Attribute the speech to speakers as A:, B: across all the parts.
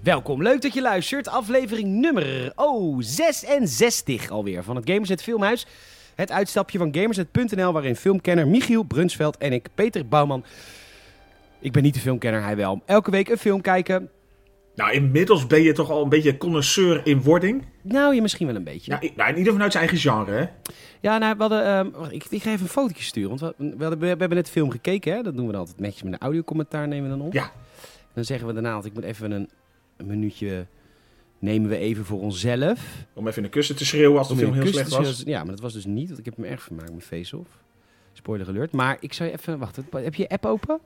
A: Welkom, leuk dat je luistert. Aflevering nummer oh, 66 alweer van het Gamersnet Filmhuis. Het uitstapje van Gamersnet.nl waarin filmkenner Michiel Brunsveld en ik, Peter Bouwman... Ik ben niet de filmkenner, hij wel. Elke week een film kijken.
B: Nou, inmiddels ben je toch al een beetje connoisseur in wording.
A: Nou, je misschien wel een beetje.
B: Ja, i- nou, in ieder geval uit zijn eigen genre, hè?
A: Ja, nou, we hadden, ehm, wacht, ik, ik ga even een fotootje sturen. Want we, we, hadden- we hebben net film gekeken, hè? Dat doen we dan altijd netjes met een audiocommentaar nemen we dan op.
B: Ja.
A: Dan zeggen we daarna, want ik moet even een, een minuutje... Nemen we even voor onszelf.
B: Om even in de kussen te schreeuwen als de
A: Om
B: film
A: in
B: heel
A: de
B: slecht
A: kust te
B: was.
A: zien- Ja, maar dat was dus niet, want ik heb me erg vermaakt met face-off. Spoiler alert. Maar ik zou je even... Wacht, wat- heb je je app open?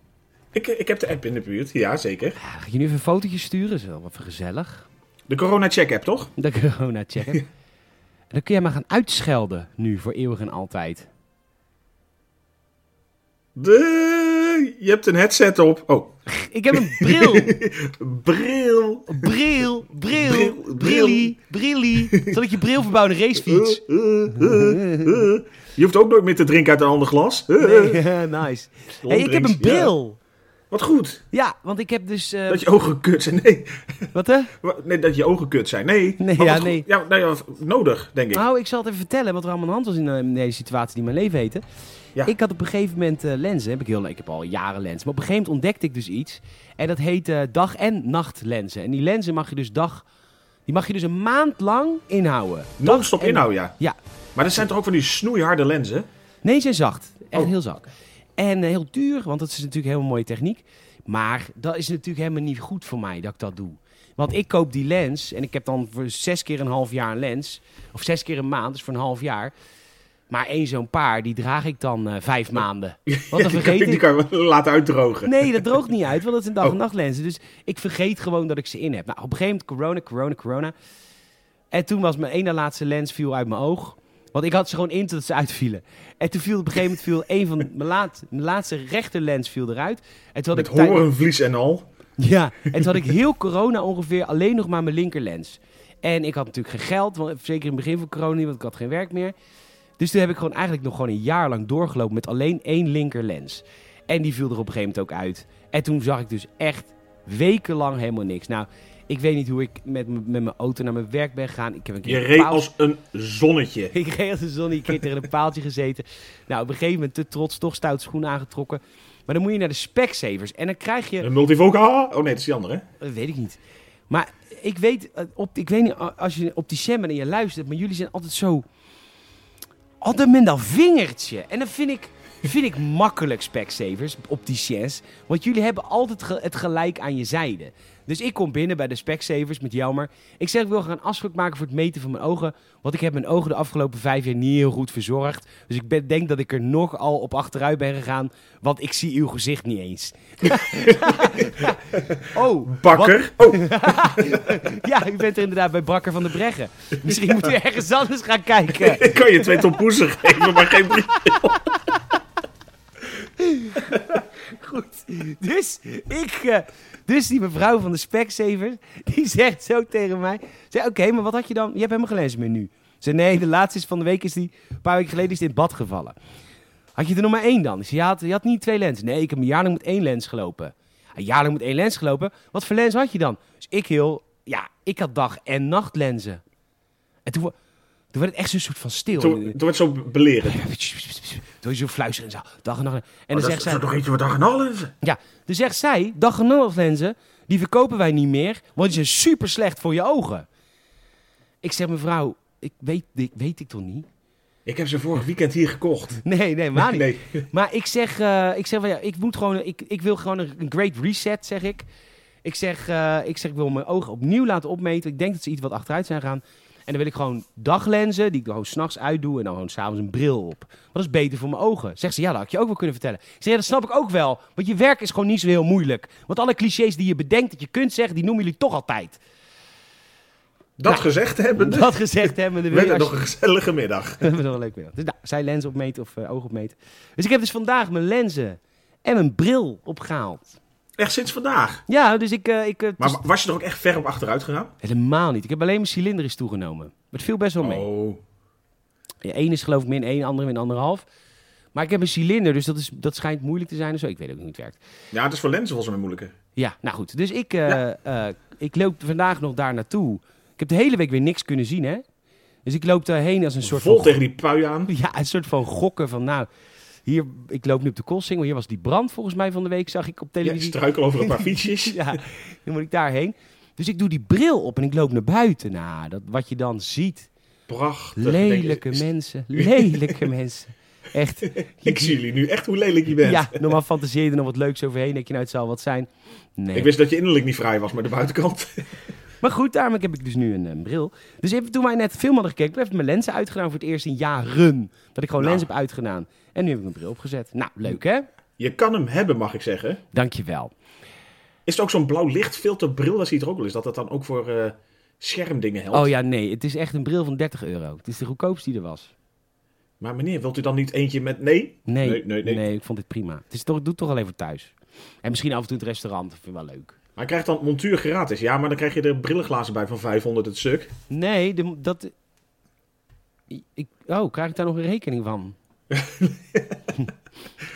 B: Ik, eh, ik heb de app in de buurt, ja, zeker.
A: Ja, ga ik je nu even een fotootje sturen? Dat is wel even gezellig.
B: De corona-check-app, toch?
A: De corona checken. en dan kun jij maar gaan uitschelden nu, voor eeuwig en altijd.
B: De... Je hebt een headset op. Oh,
A: Ik heb een bril.
B: bril.
A: bril, bril,
B: Bril,
A: brillie, brillie. Zal ik je bril verbouwen in een racefiets?
B: Eh, eh, eh, eh. Je hoeft ook nooit meer te drinken uit een ander glas. Eh, eh.
A: Nee, nice. Hey, ik heb
B: Londdrinks,
A: een bril.
B: ja. Wat goed.
A: Ja, want ik heb dus... eh,
B: Dat je ogen kut zijn. Nee,
A: Wat hè?
B: Wa- nee dat je ogen kut zijn. Nee.
A: Nee,
B: Maar
A: ja,
B: wat goed.
A: nee.
B: Ja, nou ja, nodig, denk ik.
A: Nou, ik zal het even vertellen wat er allemaal aan de hand was in, eh, in deze situatie die mijn leven heette.
B: Ja.
A: Ik had op een gegeven moment eh, lenzen. Heb ik, heel, ik heb al jaren lenzen. Maar op een gegeven moment ontdekte ik dus iets. En dat heet eh, dag- en nachtlenzen. En die lenzen mag je dus dag... Die mag je dus een maand lang inhouden.
B: Non-stop
A: en-
B: inhouden, ja.
A: Ja.
B: Maar dat zijn toch ook van die snoeiharde lenzen?
A: Nee, ze zijn zacht. Echt
B: Oh.
A: heel zacht. En eh, heel duur, want dat is natuurlijk helemaal mooie techniek. Maar dat is natuurlijk helemaal niet goed voor mij dat ik dat doe. Want ik koop die lens en ik heb dan voor zes keer een half jaar een lens. Of zes keer een maand, dus voor een half jaar. Maar één zo'n paar, die draag ik dan eh, vijf maanden. Want dan
B: Die kan,
A: vergeet
B: die
A: ik.
B: kan je laten uitdrogen.
A: Nee, dat droogt niet uit, want dat zijn dag- en
B: Oh.
A: nachtlenzen. Dus ik vergeet gewoon dat ik ze in heb. Nou, op een gegeven moment corona, corona, corona. En toen was mijn ene laatste lens viel uit mijn oog. Want ik had ze gewoon in totdat ze uitvielen. En toen viel op een gegeven moment viel een van mijn, laat, mijn laatste rechterlens viel eruit. En toen had
B: Met
A: ik tijd-
B: horenvlies en al.
A: ja, en toen had ik heel corona ongeveer alleen nog maar mijn linkerlens. En ik had natuurlijk geen geld, want zeker in het begin van corona, niet, want ik had geen werk meer. Dus toen heb ik gewoon eigenlijk nog gewoon een jaar lang doorgelopen met alleen één linkerlens. En die viel er op een gegeven moment ook uit. En toen zag ik dus echt wekenlang helemaal niks. Nou, ik weet niet hoe ik met, m- met mijn auto naar mijn werk ben gegaan. Ik heb een keer
B: Je
A: een
B: reed
A: pauze-
B: als een zonnetje.
A: ik reed als een zon, een keer tegen een paaltje gezeten. Nou, op een gegeven moment te trots, toch stout schoenen aangetrokken. Maar dan moet je naar de specsavers. En dan krijg je
B: Een multivoca. Oh nee, dat is die andere.
A: dat Eh, weet ik niet. Maar ik weet, eh, op, ik weet niet, a- als je op die sem bent en je luistert, maar jullie zijn altijd zo. Altijd met dat vingertje. En dat vind ik, vind ik makkelijk, Specsavers, op die chance. Want jullie hebben altijd ge- het gelijk aan je zijde. Dus ik kom binnen bij de Specsavers met Jelmer. Ik zeg, ik wil graag een afspraak maken voor het meten van mijn ogen. Want ik heb mijn ogen de afgelopen vijf jaar niet heel goed verzorgd. Dus ik ben, denk dat ik er nogal op achteruit ben gegaan. Want ik zie uw gezicht niet eens. oh,
B: Bakker. Oh,
A: ja, u bent er inderdaad bij Brakker van de Breggen. Misschien moet u ergens anders gaan kijken.
B: ik kan je twee tompoezen geven, maar geen brief.
A: Goed. Dus ik. eh, dus die mevrouw van de Specsavers, die zegt zo tegen mij. Zei, oké, maar wat had je dan? Je hebt helemaal geen lens meer nu. Ze zei, nee, de laatste is van de week is die, een paar weken geleden is dit bad gevallen. Had je er nog maar één dan? Ik zei, je had, je had niet twee lenzen. Nee, ik heb een jaar lang met één lens gelopen. Een jaar lang met één lens gelopen? Wat voor lens had je dan? Dus ik heel, ja, ik had dag- en nachtlenzen. En toen, wo- toen werd het echt zo'n soort van stil.
B: Toen, toen werd zo belerend. Oh,
A: Toen je zo fluisteren en zo, dag en nacht. En dan
B: dat
A: zegt
B: is-
A: zij...
B: is toch iets wat aan alles?
A: Ja, dus zegt zij, dag en nachtlenzen, die verkopen wij niet meer, want die zijn super slecht voor je ogen. Ik zeg, mevrouw, ik weet, ik weet ik toch niet?
B: Ik heb ze vorig weekend hier gekocht.
A: Nee, nee, maar niet.
B: Nee.
A: Maar ik zeg, eh, ik zeg, van, ja, ik moet gewoon, ik, ik wil gewoon een, een great reset, zeg ik. Ik zeg, eh, ik zeg, ik wil mijn ogen opnieuw laten opmeten. Ik denk dat ze iets wat achteruit zijn gaan. En dan wil ik gewoon daglenzen, die ik gewoon s'nachts uitdoe. En dan gewoon s'avonds een bril op. Want dat is beter voor mijn ogen. Zegt ze, ja, dat had ik je ook wel kunnen vertellen. Ik zeg, ja, dat snap ik ook wel. Want je werk is gewoon niet zo heel moeilijk. Want alle clichés die je bedenkt dat je kunt zeggen, die noemen jullie toch altijd.
B: Dat
A: Nou,
B: gezegd hebben, dus
A: Dat gezegd hebben we
B: werd het nog een gezellige middag.
A: Dat was wel een leuk middag. Dus nou, zij lens opmeten of eh, oog opmeten. Dus ik heb dus vandaag mijn lenzen en mijn bril opgehaald.
B: Echt sinds vandaag.
A: Ja, dus ik... eh, ik eh,
B: Maar
A: dus-
B: wa- was je er ook echt ver op achteruit gegaan?
A: Helemaal niet. Ik heb alleen mijn cilinder is toegenomen. Maar Het viel best wel mee.
B: Oh.
A: Eén is geloof ik min één, andere min anderhalf. Maar ik heb een cilinder, dus dat, is, dat schijnt moeilijk te zijn of zo. Ik weet ook niet hoe het werkt.
B: Ja, het is voor lenzen volgens mij moeilijker.
A: Ja, nou goed. Dus ik, eh, eh, ik loop vandaag nog daar naartoe. Ik heb de hele week weer niks kunnen zien, hè. Dus ik loop daarheen als een soort
B: Vol
A: van...
B: tegen die pui aan.
A: Ja, een soort van gokken van, nou... Hier, ik loop nu op de Koolsingel. Hier was die brand volgens mij van de week, zag ik op
B: Ja, ik
A: televisie.
B: struikel over een paar fietsjes.
A: Ja, dan moet ik daarheen. Dus ik doe die bril op en ik loop naar buiten. Nou, dat, wat je dan ziet.
B: Prachtig.
A: Lelijke
B: Denk je,
A: mensen. Lelijke mensen. Echt.
B: Ik zie jullie nu echt hoe lelijk je bent.
A: Ja, normaal fantaseer je er nog wat leuks overheen. Denk je, nou, het zal wat zijn. Nee.
B: Ik wist dat je innerlijk niet vrij was, maar de buitenkant.
A: Maar goed, daarom heb ik dus nu een, eh, bril. Dus even, toen wij net film hadden gekeken, toen heb ik mijn lenzen uitgedaan voor het eerst in jaren. Dat ik gewoon
B: Nou.
A: lens heb uitgedaan. En nu heb ik mijn bril opgezet. Nou, leuk hè?
B: Je kan hem hebben, mag ik zeggen.
A: Dankjewel.
B: Is het ook zo'n blauw lichtfilterbril? Dat zie je er ook wel eens. Dat dat dan ook voor eh, schermdingen helpt.
A: Oh ja, nee, het is echt een bril van 30 euro. Het is de goedkoopste die er was.
B: Maar meneer, wilt u dan niet eentje met... Nee?
A: Nee,
B: Nee,
A: nee,
B: nee, nee.
A: ik vond dit prima. Het is toch, ik doe het toch alleen voor thuis. En misschien af en toe het restaurant, dat vind ik wel leuk.
B: Maar hij krijgt dan montuur gratis. Ja, maar dan krijg je er brillenglazen bij van 500 het stuk.
A: Nee, de- dat... Ik, oh, krijg ik daar nog een rekening van? ik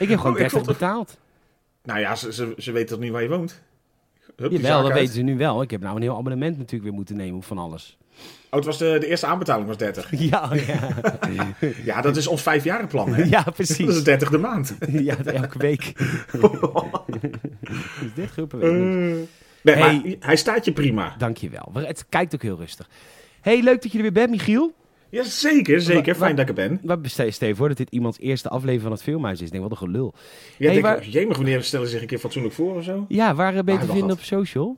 A: heb gewoon
B: Oh, ik
A: 30
B: vond het-
A: betaald.
B: Nou ja, ze, ze, ze weten toch niet waar je woont? Hup, die
A: Jawel,
B: zaak
A: dat
B: uit.
A: weten ze nu wel. Ik heb nou een heel abonnement natuurlijk weer moeten nemen op van alles.
B: Oh, het was de, de eerste aanbetaling was 30.
A: Ja, ja.
B: Ja, dat is ons vijfjarenplan, hè?
A: ja
B: Dat is
A: precies.
B: de dertigde maand.
A: Ja, elke week. Dus dit groepen
B: Eh,
A: weet ik niet.
B: nee, maar
A: Hey.
B: hij staat je prima.
A: Dankjewel. Maar Het kijkt ook heel rustig. hey, leuk dat je er weer bent, Michiel.
B: Ja, zeker, zeker.
A: Wa- wa-
B: Fijn dat ik er ben.
A: Maar stel stel je voor dat dit iemands eerste aflevering van het filmhuis is. Ik denk, wat een gelul.
B: Ja,
A: Hey,
B: denk,
A: waar-
B: Jemig, wanneer stellen ze zich een keer fatsoenlijk voor of zo?
A: Ja, waar eh, ben je
B: Ah,
A: te
B: wel
A: vinden
B: wat.
A: op social?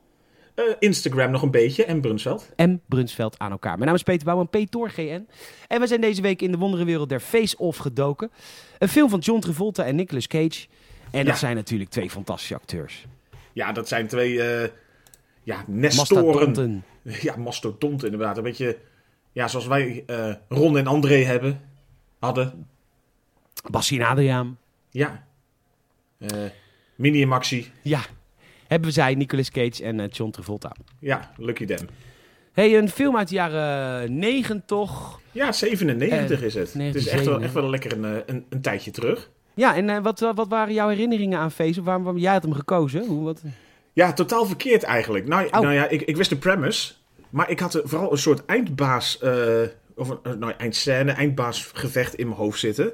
B: Eh, Instagram nog een beetje en Brunsveld.
A: en Brunsveld aan elkaar. Mijn naam is Peter Bouwman, Peter GN. En we zijn deze week in de wonderenwereld der Face-Off gedoken. Een film van John Travolta en Nicolas Cage. En dat
B: Ja.
A: zijn natuurlijk twee fantastische acteurs.
B: Ja, dat zijn twee eh, ja, nestoren.
A: Mastodonten.
B: Ja, mastodonten inderdaad. Een beetje ja, zoals wij eh, Ron en André hebben, hadden.
A: Bassie en Adriaan.
B: Ja. Eh, Mini en Maxi.
A: Ja, hebben zij Nicolas Cage en eh, John Travolta.
B: Ja, Lucky Them.
A: hey, een film uit de jaren negentig.
B: Ja, 97 is het. Het is echt wel,
A: 1997.
B: echt wel lekker een, eh, een, een tijdje terug.
A: Ja, en eh, wat, wat waren jouw herinneringen aan Face? Of waarom, waarom- jij had hem gekozen? Hoe, wat?
B: Ja, totaal verkeerd eigenlijk. Nou,
A: Au.
B: nou ja, ik, ik wist de premise. Maar ik had er vooral een soort eindbaas... eh, of een eh, nou, ja, eindscène, eindbaasgevecht in mijn hoofd zitten.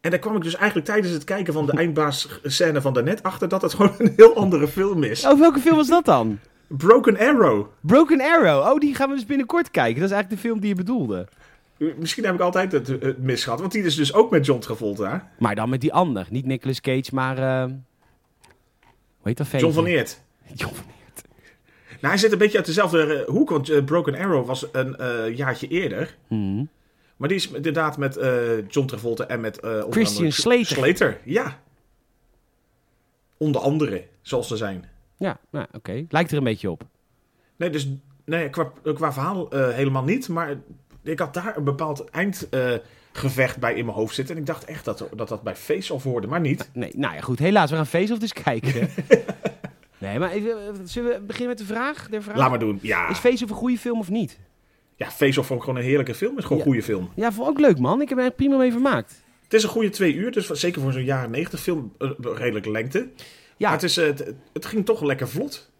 B: En daar kwam ik dus eigenlijk tijdens het kijken van de eindbaasscène van daarnet achter... dat het gewoon een heel andere film is.
A: Oh, welke film was dat dan?
B: Broken Arrow.
A: Broken Arrow. Oh, die gaan we dus binnenkort kijken. Dat is eigenlijk de film die je bedoelde.
B: Eh, Misschien heb ik altijd het, het misgehad. Want die is dus ook met John Travolta.
A: Maar dan met die ander. Niet Nicolas Cage, maar... eh, Hoe heet dat
B: John
A: ventje?
B: van Eert.
A: John van Eert.
B: Nou, hij zit een beetje uit dezelfde eh, hoek. Want eh, Broken Arrow was een eh, jaartje eerder...
A: Mhm.
B: Maar die is inderdaad met eh, John Travolta en met... eh, onder
A: Christian
B: andere-
A: Slater.
B: Slater, ja. Onder andere, zoals ze zijn.
A: Ja, nou, oké. Lijkt er een beetje op.
B: Nee, dus nee, qua, qua verhaal eh, helemaal niet. Maar ik had daar een bepaald eindgevecht bij in mijn hoofd zitten. En ik dacht echt dat dat, dat bij Face-Off hoorde, maar niet.
A: Nee, nou ja, goed. Helaas, we gaan Face-Off dus kijken. nee, maar even, eh, zullen we beginnen met de vraag? De vraag?
B: Laat maar doen. Ja,
A: Is Face-Off een goede film of niet?
B: ja Face-Off vond ik gewoon een heerlijke film. Het is gewoon een
A: Ja.
B: goede film.
A: Ja, vond ik ook leuk, man. Ik heb er echt prima mee vermaakt.
B: Het is een goede twee uur. Dus zeker voor zo'n jaren negentig film eh, redelijke lengte.
A: Ja,
B: Maar het, is, eh, het, het ging toch lekker vlot.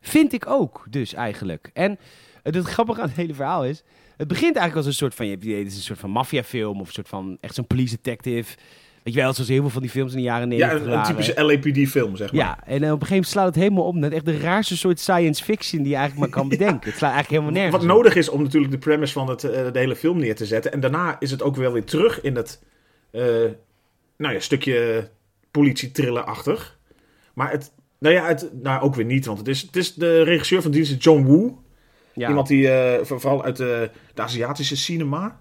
A: Vind ik ook, dus eigenlijk. En eh, het grappige aan het hele verhaal is. Het begint eigenlijk als een soort van. Je hebt het idee, het is een soort van maffiafilm. Of een soort van. Echt zo'n police detective. Weet je wel, zoals heel veel van die films in de jaren
B: Ja,
A: 90.
B: een, een
A: waren.
B: typische LAPD-film, zeg maar.
A: Ja, en eh, op een gegeven moment slaat het helemaal om. Net echt de raarste soort science fiction die je eigenlijk maar kan bedenken. Het slaat eigenlijk helemaal nergens.
B: Wat
A: op.
B: nodig is om natuurlijk de premise van het, eh, de hele film neer te zetten. En daarna is het ook wel weer terug in dat eh, nou ja, stukje politietrillerachtig. Maar het, nou ja, het, nou ook weer niet. Want het is, het is de regisseur van dienst, is John Woo.
A: Ja.
B: Iemand die eh, voor- vooral uit de, de Aziatische cinema.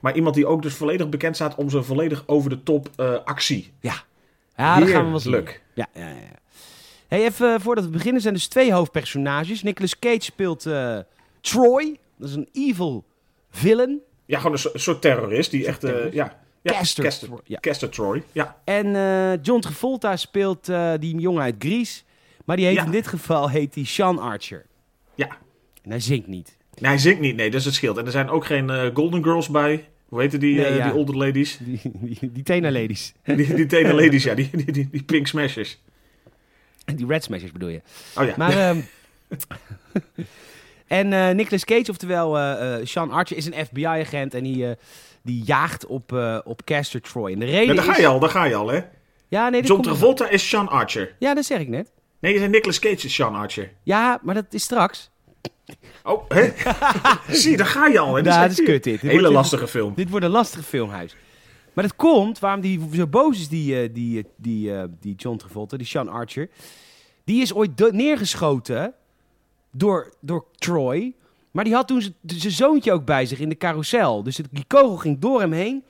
B: Maar iemand die ook dus volledig bekend staat om zijn volledig over de top eh, actie.
A: Ja, ja dat gaan we wel zien.
B: Heerlijk.
A: Ja, ja, ja. Hey, even eh, voordat we beginnen zijn dus twee hoofdpersonages. Nicolas Cage speelt eh, Troy. Dat is een evil villain.
B: Ja, gewoon een so- soort terrorist die echt... eh,
A: terrorist?
B: ja, ja,
A: Caster.
B: Caster,
A: Ja.
B: Caster Troy. Ja.
A: En eh, John Travolta speelt eh, die jongen uit Greece. Maar die heet
B: Ja.
A: in dit geval heet die Sean Archer.
B: ja,
A: En hij zingt niet.
B: Nee, hij zingt niet, nee, dus het scheelt. En er zijn ook geen eh, Golden Girls bij. Hoe heette die,
A: Nee,
B: eh,
A: ja.
B: die older ladies?
A: Die, die, die tenerladies.
B: Die, die tenen ladies, ja. Die, die, die, die pink smashers.
A: Die red smashers bedoel je.
B: Oh ja.
A: Maar, ehm, en eh Nicolas Cage, oftewel eh, eh, Sean Archer, is een FBI-agent en die, eh, die jaagt op, eh, op Caster Troy. En de reden
B: Ja, daar
A: is...
B: ga je al, daar ga je al, hè.
A: Ja, nee, dit
B: John
A: komt nog.
B: Travolta is Sean Archer.
A: Ja, dat zeg ik net.
B: Nee, je zei Nicolas Cage is Sean Archer.
A: Ja, maar dat is straks.
B: Oh, hè? Zie, je, daar ga je al, hè. Dit
A: Ja,
B: echt
A: dat is
B: duur.
A: kut dit. Dit
B: Hele
A: wordt-
B: lastige film.
A: Dit wordt een lastig filmhuis. Maar dat komt waarom die zo boos is, die, eh, die, eh, die, eh, die John Travolta, die Sean Archer. Die is ooit do- neergeschoten door, door Troy. Maar die had toen z- zijn zoontje ook bij zich in de carousel. Dus het- die kogel ging door hem heen.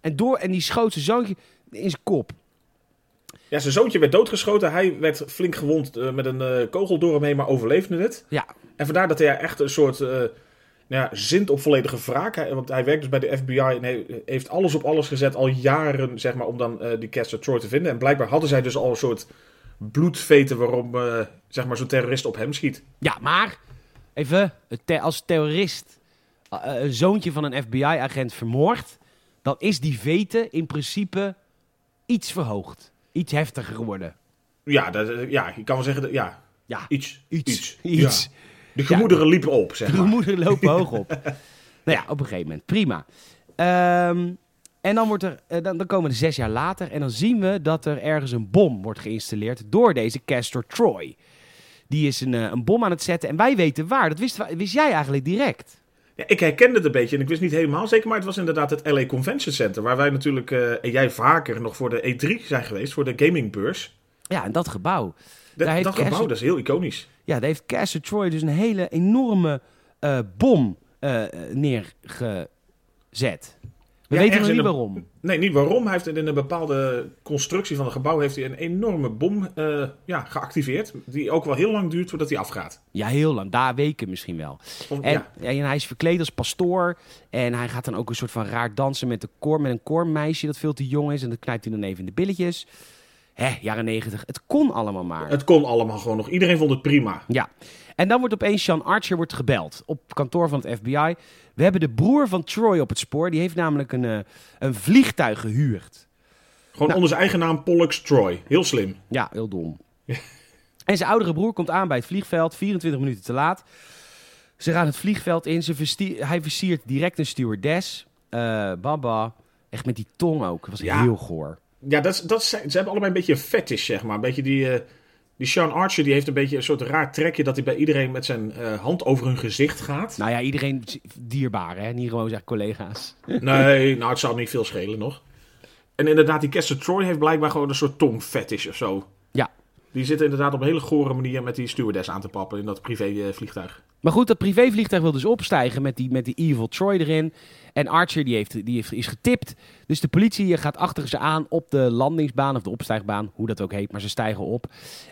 A: En, door, en die schoot zijn zoontje in zijn kop.
B: Ja, zijn zoontje werd doodgeschoten. Hij werd flink gewond eh, met een eh, kogel door hem heen, maar overleefde het.
A: Ja,
B: En vandaar dat hij echt een soort eh, nou ja, zint op volledige wraak. Hij- want hij werkt dus bij de FBI en hij heeft alles op alles gezet al jaren, zeg maar, om dan eh, die Caster Troy te vinden. En blijkbaar hadden zij dus al een soort bloedveten waarom, eh, zeg maar, zo'n terrorist op hem schiet.
A: ja maar even, het te- als terrorist eh, eh, een zoontje van een FBI-agent vermoord... dan is die veten in principe iets verhoogd. Iets heftiger geworden.
B: Ja, dat, eh, ja je kan wel zeggen, dat, ja,
A: Ja,
B: iets.
A: iets.
B: Iets.
A: Iets.
B: Ja. De gemoederen liepen op, zeg
A: De
B: maar.
A: moeder lopen hoog op. nou ja, op een gegeven moment. Prima. Ehm, en dan, wordt er, eh, dan, dan komen we zes jaar later en dan zien we dat er ergens een bom wordt geïnstalleerd door deze Castor Troy. Die is een, eh, een bom aan het zetten en wij weten waar. Dat wist, wist jij eigenlijk direct.
B: Ja, ik herkende het een beetje en ik wist niet helemaal zeker, maar het was inderdaad het LA Convention Center, waar wij natuurlijk, eh, en jij vaker, nog voor de E3 zijn geweest, voor de gamingbeurs.
A: Ja, en dat gebouw.
B: Dat,
A: Daar heeft
B: dat gebouw, dus.
A: Castle-
B: dat is heel iconisch.
A: Ja, daar heeft Castor Troy dus een hele enorme eh, bom eh, neergezet. We
B: Ja,
A: weten
B: ergens
A: nog
B: in
A: niet
B: een-
A: waarom.
B: Nee, niet waarom. Hij heeft in een bepaalde constructie van het gebouw heeft hij een enorme bom eh, ja, geactiveerd. Die ook wel heel lang duurt voordat hij afgaat.
A: Ja, heel lang. Daar weken misschien wel.
B: Of-
A: En,
B: ja.
A: en hij is verkleed als pastoor. En hij gaat dan ook een soort van raar dansen met, de koor, met een koormeisje dat veel te jong is. En dat knijpt hij dan even in de billetjes. Hè, jaren negentig. Het kon allemaal maar.
B: Het kon allemaal gewoon nog. Iedereen vond het prima.
A: Ja. En dan wordt opeens Sean Archer wordt gebeld op kantoor van het FBI. We hebben de broer van Troy op het spoor. Die heeft namelijk een, eh, een vliegtuig gehuurd.
B: Gewoon onder zijn eigen naam Pollux Troy. Heel slim.
A: Ja, heel dom. en zijn oudere broer komt aan bij het vliegveld, 24 minuten te laat. Ze gaan het vliegveld in, ze verstie- hij versiert direct een stewardess. Eh, baba, echt met die tong ook. Dat was
B: Ja.
A: heel goor.
B: Ja, dat, is- dat zijn, ze hebben allebei een beetje een fetish, zeg maar. Een beetje die, eh, die Sean Archer die heeft een beetje een soort raar trekje... dat hij bij iedereen met zijn eh, hand over hun gezicht gaat.
A: Nou ja, iedereen is dierbaar, hè? Niet gewoon zeg collega's.
B: Nee, nou, het zou niet veel schelen nog. En inderdaad, die Kester Troy heeft blijkbaar gewoon een soort tongfetish of zo.
A: Ja.
B: Die zitten inderdaad op een hele gore manier met die stewardess aan te pappen in dat privévliegtuig.
A: Maar goed, dat privévliegtuig wil dus opstijgen met die, met die Evil Troy erin. En Archer die heeft, die heeft, is getipt. Dus de politie gaat achter ze aan op de landingsbaan of de opstijgbaan, hoe dat ook heet. Maar ze stijgen op.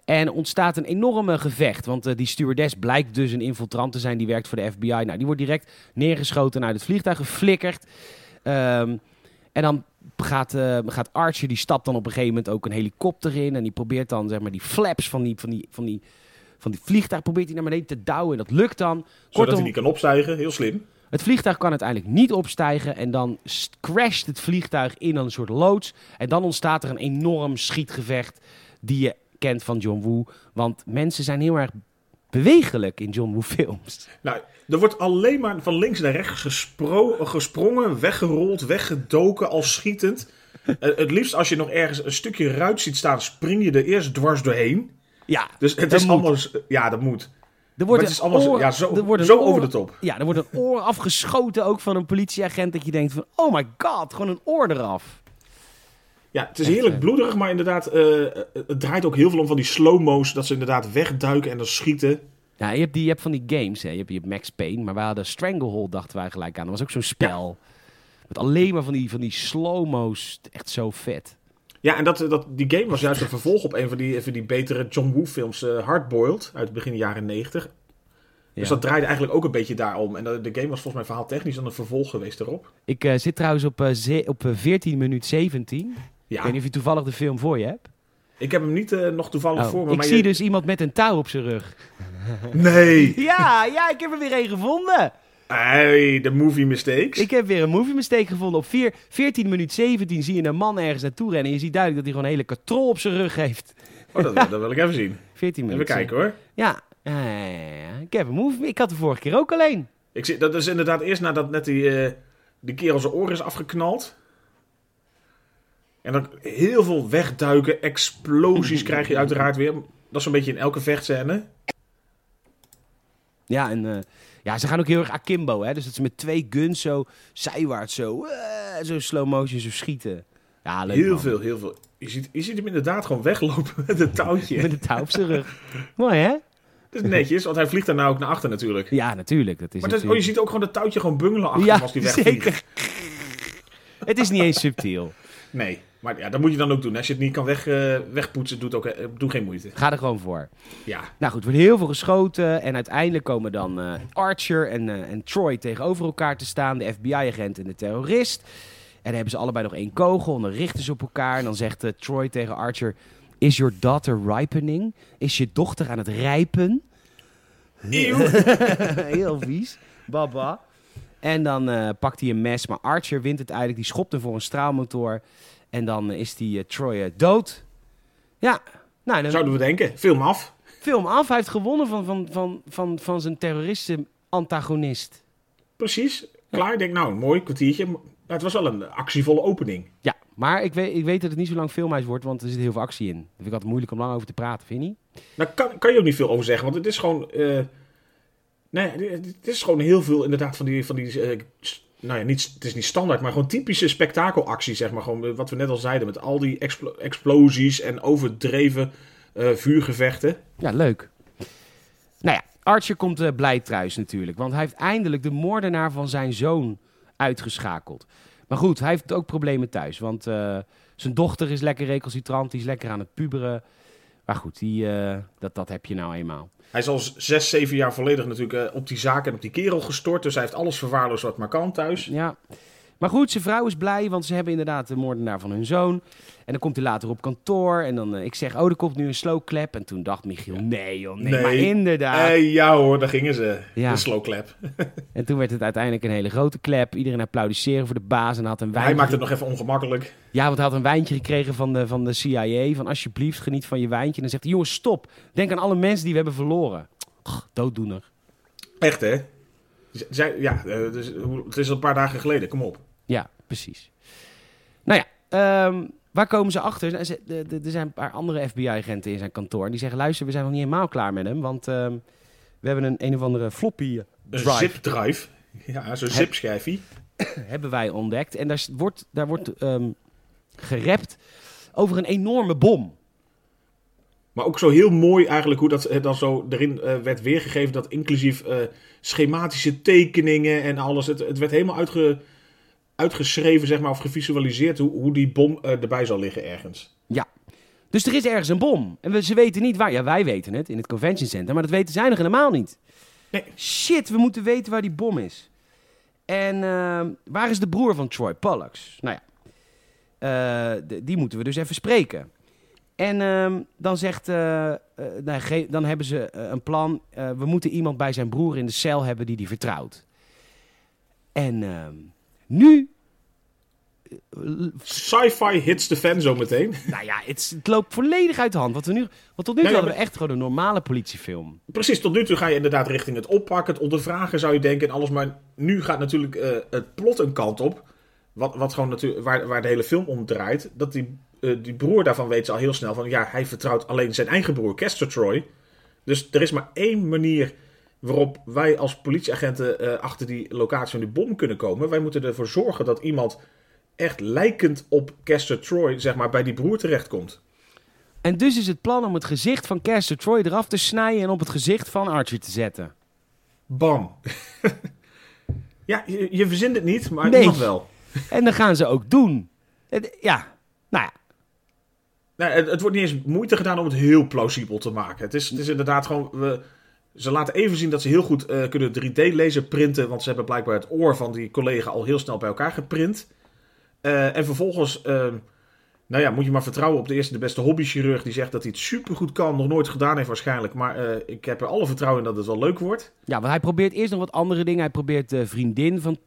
A: En er ontstaat een enorme gevecht. Want eh, die stewardess blijkt dus een infiltrant te zijn. Die werkt voor de FBI. Nou, die wordt direct neergeschoten en uit het vliegtuig geflikkerd. Ehm, en dan gaat, eh, gaat Archer, die stapt dan op een gegeven moment ook een helikopter in. En die probeert dan zeg maar, die flaps van die, van die, van die, van die vliegtuig probeert hij naar beneden te douwen. En dat lukt dan.
B: Zodat
A: Kortom,
B: hij niet kan opstijgen, heel slim.
A: het vliegtuig kan uiteindelijk niet opstijgen. En dan s- crasht het vliegtuig in een soort loods. En dan ontstaat er een enorm schietgevecht die je kent van John Woo. Want mensen zijn heel erg bewegelijk in John Woo films.
B: Nou, er wordt alleen maar van links naar rechts gespro- gesprongen, weggerold, weggedoken, al schietend. Eh, het liefst als je nog ergens een stukje ruit ziet staan, spring je er eerst dwars doorheen.
A: Ja,
B: Dus het
A: dat
B: is
A: moet.
B: allemaal... s- Ja, dat moet.
A: Er
B: Maar
A: wordt
B: het
A: een
B: is allemaal zo-
A: oor-
B: ja, zo,
A: er wordt een
B: zo
A: oor-
B: over de top.
A: Ja, er wordt een oor afgeschoten ook van een politieagent. Dat je denkt van, oh my god, gewoon een oor eraf.
B: Ja, het is heerlijk bloederig, maar inderdaad, eh, het draait ook heel veel om van die slow-mo's. Dat ze inderdaad wegduiken en dan schieten.
A: Ja, je hebt, die, je hebt van die games, hè. Je hebt, je hebt Max Payne, maar we hadden Stranglehold, dachten wij gelijk aan. Dat was ook zo'n spel. Met alleen maar van die, van die slow-mo's. Echt zo vet.
B: Ja, en dat, eh, dat, die game was juist een vervolg op een van die, van die betere John Woo-films, eh Hardboiled, uit begin jaren 90.
A: Ja.
B: Dus dat draaide eigenlijk ook een beetje daarom. En eh, de game was volgens mij verhaaltechnisch dan een vervolg geweest erop.
A: Ik eh, zit trouwens op, eh, ze- op eh, 14 minuut 17. Ik
B: Ja,
A: weet niet of je toevallig de film voor je hebt.
B: ik heb hem niet eh, nog toevallig
A: Oh,
B: voor me.
A: ik
B: maar
A: zie
B: je-
A: dus iemand met een touw op zijn rug.
B: Nee!
A: Ja, ja, ik heb er weer één gevonden.
B: Hey, de movie mistakes.
A: Ik heb weer een movie mistake gevonden. Op 4, 14 minuut 17 zie je een man ergens naartoe rennen. En je ziet duidelijk dat hij gewoon een hele katrol op zijn rug heeft.
B: Oh, dat, wil- dat wil ik even zien.
A: 14 minuten.
B: Even kijken hoor.
A: Ja. Ja, ja, ja, ja. Ik heb een movie. Ik had de vorige keer ook alleen.
B: Ik zie, dat is inderdaad eerst nadat net die, eh die kerel zijn oor is afgeknald. En dan heel veel wegduiken, explosies krijg je uiteraard weer. Dat is een beetje in elke vechtscène.
A: Ja, en eh, ja, ze gaan ook heel erg akimbo, hè? Dus dat ze met twee guns zo zijwaarts zo, eh, zo slow motion zo schieten. Ja, leuk
B: Heel
A: man.
B: veel, heel veel. Je ziet, je ziet hem inderdaad gewoon weglopen met een touwtje.
A: Met een touw op zijn rug. Mooi, hè?
B: Dat is netjes, want hij vliegt daarna ook naar achter natuurlijk.
A: Ja, natuurlijk. Dat is
B: Maar dat, oh, je
A: natuurlijk-
B: ziet ook gewoon dat touwtje gewoon bungelen achter hem als die wegvliegt.
A: zeker. Het is niet eens subtiel.
B: Nee, maar ja, dat moet je dan ook doen. Als je het niet kan weg, eh, wegpoetsen, doe, het ook, eh, doe geen moeite.
A: Ga er gewoon voor.
B: Ja,
A: Nou goed, er wordt heel veel geschoten. En uiteindelijk komen dan eh, Archer en, eh, en Troy tegenover elkaar te staan. De FBI-agent en de terrorist. En dan hebben ze allebei nog één kogel. En dan richten ze op elkaar. En dan zegt eh, Troy tegen Archer... Is your daughter ripening? Is je dochter aan het rijpen?
B: Eeuw.
A: heel vies. Baba. En dan eh, pakt hij een mes. Maar Archer wint het eigenlijk. Die schopt hem voor een straalmotor. En dan eh, is die eh, Troy eh, dood. Ja. Nou, dan
B: zouden we denken. Film af.
A: film af. Hij heeft gewonnen van, van, van, van, van zijn terroristen-antagonist.
B: Precies. Klaar. Ik denk, nou, een mooi kwartiertje. Maar het was wel een actievolle opening.
A: Ja, maar ik weet, ik weet dat het niet zo lang filmhuis wordt, want er zit heel veel actie in. Dat vind ik altijd moeilijk om lang over te praten, vind je niet?
B: Daar kan, kan je ook niet veel over zeggen, want het is gewoon... eh, nee, het- het is gewoon heel veel inderdaad van die... Van die eh, s- nou ja, niet, het is niet standaard, maar gewoon typische spektakelactie, zeg maar. Gewoon eh, wat we net al zeiden, met al die explo- explosies en overdreven eh, vuurgevechten.
A: Ja, leuk. Nou ja, Archer komt eh, blij thuis natuurlijk, want hij heeft eindelijk de moordenaar van zijn zoon uitgeschakeld. Maar goed, hij heeft ook problemen thuis, want eh, zijn dochter is lekker recalcitrant, die is lekker aan het puberen. Maar goed, die, eh, dat, dat heb je nou eenmaal.
B: Hij is al z- zes, zeven jaar volledig natuurlijk eh, op die zaak en op die kerel gestort. Dus hij heeft alles verwaarloosd wat maar kan thuis.
A: Ja. Maar goed, zijn vrouw is blij, want ze hebben inderdaad de moordenaar van hun zoon. En dan komt hij later op kantoor en dan, eh, ik zeg, oh, er komt nu een slowclap. En toen dacht Michiel, nee joh, nee,
B: Nee.
A: maar inderdaad.
B: Eh, ja hoor, daar gingen ze.
A: Ja.
B: De slow clap.
A: En toen werd het uiteindelijk een hele grote klep. Iedereen applaudisseren voor de baas en had een
B: Hij
A: wijntje.
B: maakt het nog even ongemakkelijk.
A: Ja, want hij had een wijntje gekregen van de, van de CIA, van alsjeblieft, geniet van je wijntje. En dan zegt hij, jongens, stop, denk aan alle mensen die we hebben verloren. Dooddoener.
B: Echt hè? Z- Zij, ja, eh, dus, hoe- het is al een paar dagen geleden, kom op.
A: Ja, precies. Nou ja, ehm, waar komen ze achter? Nou, ze- de- de- Er zijn een paar andere FBI-agenten in zijn kantoor. En die zeggen, luister, we zijn nog niet helemaal klaar met hem. Want ehm, we hebben een een of andere floppy
B: Een
A: drive
B: zip drive. Ja, zo'n zip schijfie.
A: hebben wij ontdekt. En daar s- wordt, daar wordt ehm gerept over een enorme bom.
B: Maar ook zo heel mooi eigenlijk hoe dat eh, dan zo erin eh, werd weergegeven. Dat inclusief eh, schematische tekeningen en alles. Het, het werd helemaal uitge, uitgeschreven, zeg maar, of gevisualiseerd hoe, hoe die bom eh, erbij zal liggen ergens.
A: Dus er is ergens een bom. En we, ze weten niet waar. Ja, wij weten het in het convention center, maar dat weten zij nog helemaal niet.
B: Nee.
A: Shit, we moeten weten waar die bom is. En ehm, waar is de broer van Troy Pollux? Nou ja, eh, de- die moeten we dus even spreken. En ehm, dan zegt, eh, eh, nou, ge- dan hebben ze eh, een plan. Eh, we moeten iemand bij zijn broer in de cel hebben die die vertrouwt. En ehm, nu,
B: Sci-fi hits the fan zo meteen.
A: nou ja, het, is- het loopt volledig uit de hand. Wat we nu, want tot nu toe
B: Nee,
A: hadden we
B: maar-
A: echt gewoon een normale politiefilm.
B: Precies, tot nu toe ga je inderdaad richting het oppakken, het ondervragen zou je denken en alles. Maar nu gaat natuurlijk eh, het plot een kant op. Wat, wat gewoon natuurlijk, waar, waar de hele film om draait. Dat die, eh, die broer daarvan weet ze al heel snel van ja, hij vertrouwt alleen zijn eigen broer, Caster Troy. Dus er is maar één manier waarop wij als politieagenten eh, achter die locatie van die bom kunnen komen. Wij moeten ervoor zorgen dat iemand echt lijkend op Caster Troy, zeg maar, bij die broer terechtkomt.
A: En dus is het plan om het gezicht van Caster Troy eraf te snijden en op het gezicht van Archer te zetten.
B: Bam. ja, je, je verzint het niet, maar
A: Nee.
B: het mag wel.
A: En dat gaan ze ook doen. Het- ja, nou ja.
B: Nou, het, het wordt niet eens moeite gedaan om het heel plausibel te maken. Het is, het is inderdaad gewoon... We, ze laten even zien dat ze heel goed eh, kunnen 3D lezen printen. Want ze hebben blijkbaar het oor van die collega al heel snel bij elkaar geprint. Eh, en vervolgens eh, Nou ja, moet je maar vertrouwen op de eerste de beste hobbychirurg die zegt dat hij het supergoed kan, nog nooit gedaan heeft waarschijnlijk. Maar eh, ik heb er alle vertrouwen in dat het wel leuk wordt.
A: Ja, want hij probeert eerst nog wat andere dingen. Hij probeert de vriendin van,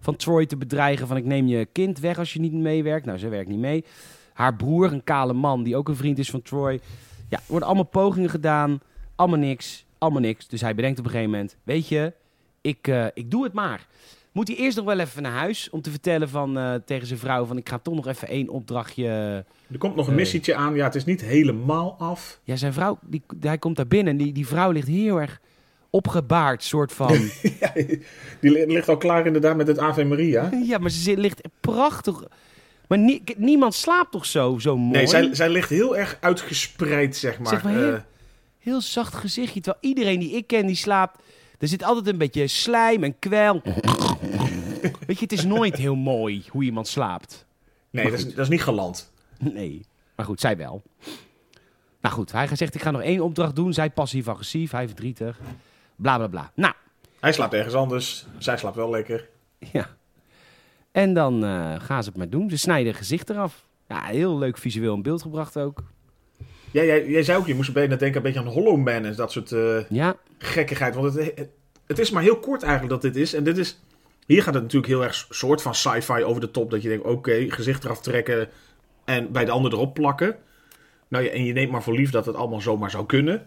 A: van Troy te bedreigen. Van ik neem je kind weg als je niet meewerkt. Nou, ze werkt niet mee. Haar broer, een kale man, die ook een vriend is van Troy. Ja, er worden allemaal pogingen gedaan. Allemaal niks. Allemaal niks. Dus hij bedenkt op een gegeven moment, weet je, ik, eh, ik doe het maar. Moet hij eerst nog wel even naar huis om te vertellen van, eh, tegen zijn vrouw van ik ga toch nog even één opdrachtje...
B: Er komt nog een
A: Nee.
B: missietje aan. Ja, het is niet helemaal af.
A: Ja, zijn vrouw, die, hij komt daar binnen en die, die vrouw ligt heel erg opgebaard, soort van...
B: Ja, die li- ligt al klaar inderdaad met het Ave Maria.
A: Ja, maar ze zit- ligt prachtig. Maar nie- k- niemand slaapt toch zo, zo mooi?
B: Nee, zij, zij ligt heel erg uitgespreid, zeg maar.
A: Zeg maar heel-
B: Eh,
A: Heel zacht gezichtje. Terwijl iedereen die ik ken, die slaapt... Er zit altijd een beetje slijm en kwel. Weet je, het is nooit heel mooi hoe iemand slaapt.
B: nee, dat is, dat is niet galant.
A: Nee. Maar goed, zij wel. Nou goed, hij zegt, ik ga nog één opdracht doen. Zij passief-agressief, hij verdrietig. Bla, bla, bla. Nou,
B: Hij slaapt ergens anders. Zij slaapt wel lekker.
A: Ja. En dan eh, gaan ze het maar doen. Ze snijden gezicht eraf. Ja, heel leuk visueel in beeld gebracht ook.
B: Ja, jij, jij zei ook, je moest bijna denken een beetje aan Hollow Man en dat soort eh,
A: Ja,
B: gekkigheid. Want het, het, het is maar heel kort eigenlijk dat dit is. En dit is... Hier gaat het natuurlijk heel erg soort van sci-fi over de top. Dat je denkt, oké, gezicht eraf trekken en bij de ander erop plakken. Nou ja, en je neemt maar voor lief dat het allemaal zomaar zou kunnen.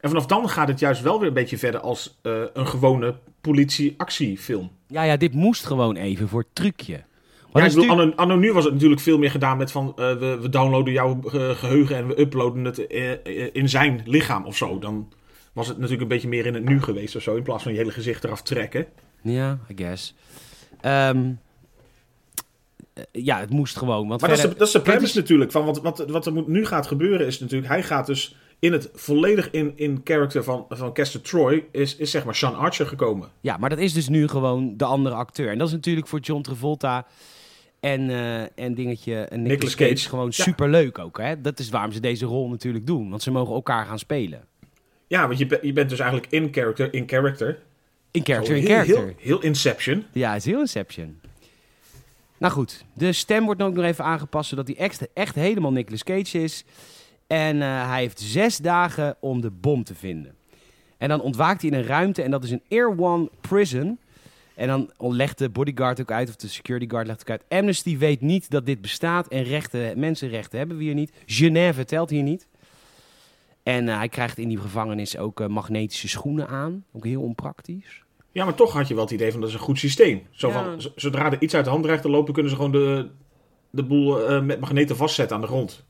B: En vanaf dan gaat het juist wel weer een beetje verder als eh, een gewone politie-actiefilm.
A: Ja, ja, dit moest gewoon even voor het trucje.
B: Ja,
A: Maar
B: ik
A: dat is
B: bedoel,
A: natuurlijk-
B: anno, anno nu was het natuurlijk veel meer gedaan met van eh, we, we downloaden jouw eh, geheugen en we uploaden het eh, eh, in zijn lichaam of zo. Dan was het natuurlijk een beetje meer in het nu geweest of zo, in plaats van je hele gezicht eraf trekken.
A: Ja, I guess. Ehm, eh, ja, het moest gewoon. Want
B: Maar dat is, de,
A: verder-
B: dat is de
A: Kijk,
B: premise natuurlijk. Van wat, wat, wat er moet, nu gaat gebeuren is natuurlijk, hij gaat dus in het volledig in, in character van, van Caster Troy, is, is zeg maar Sean Archer gekomen.
A: Ja, maar dat is dus nu gewoon de andere acteur. En dat is natuurlijk voor John Travolta en, eh, en dingetje en Nicolas,
B: Nicolas
A: Cage,
B: Cage.
A: gewoon
B: Ja.
A: superleuk ook. Hè? Dat is waarom ze deze rol natuurlijk doen. Want ze mogen elkaar gaan spelen.
B: Ja, want je, be- je bent dus eigenlijk in character, in character.
A: In character, in
B: Heel-
A: character.
B: Heel, heel Inception.
A: Ja, het is heel Inception. Nou goed, de stem wordt ook nog even aangepast, zodat hij echt, echt helemaal Nicolas Cage is. En eh, hij heeft zes dagen om de bom te vinden. En dan ontwaakt hij in een ruimte en dat is een Air One prison. En dan legt de bodyguard ook uit, of de security guard legt ook uit. Amnesty weet niet dat dit bestaat en rechten, mensenrechten hebben we hier niet. Genève telt hier niet. En eh, hij krijgt in die gevangenis ook eh, magnetische schoenen aan. Ook heel onpraktisch.
B: Ja, maar toch had je wel het idee van dat is een goed systeem. Zo
A: Ja.
B: van, z- zodra er iets uit de hand dreigt te lopen, kunnen ze gewoon de, de boel eh, met magneten vastzetten aan de grond.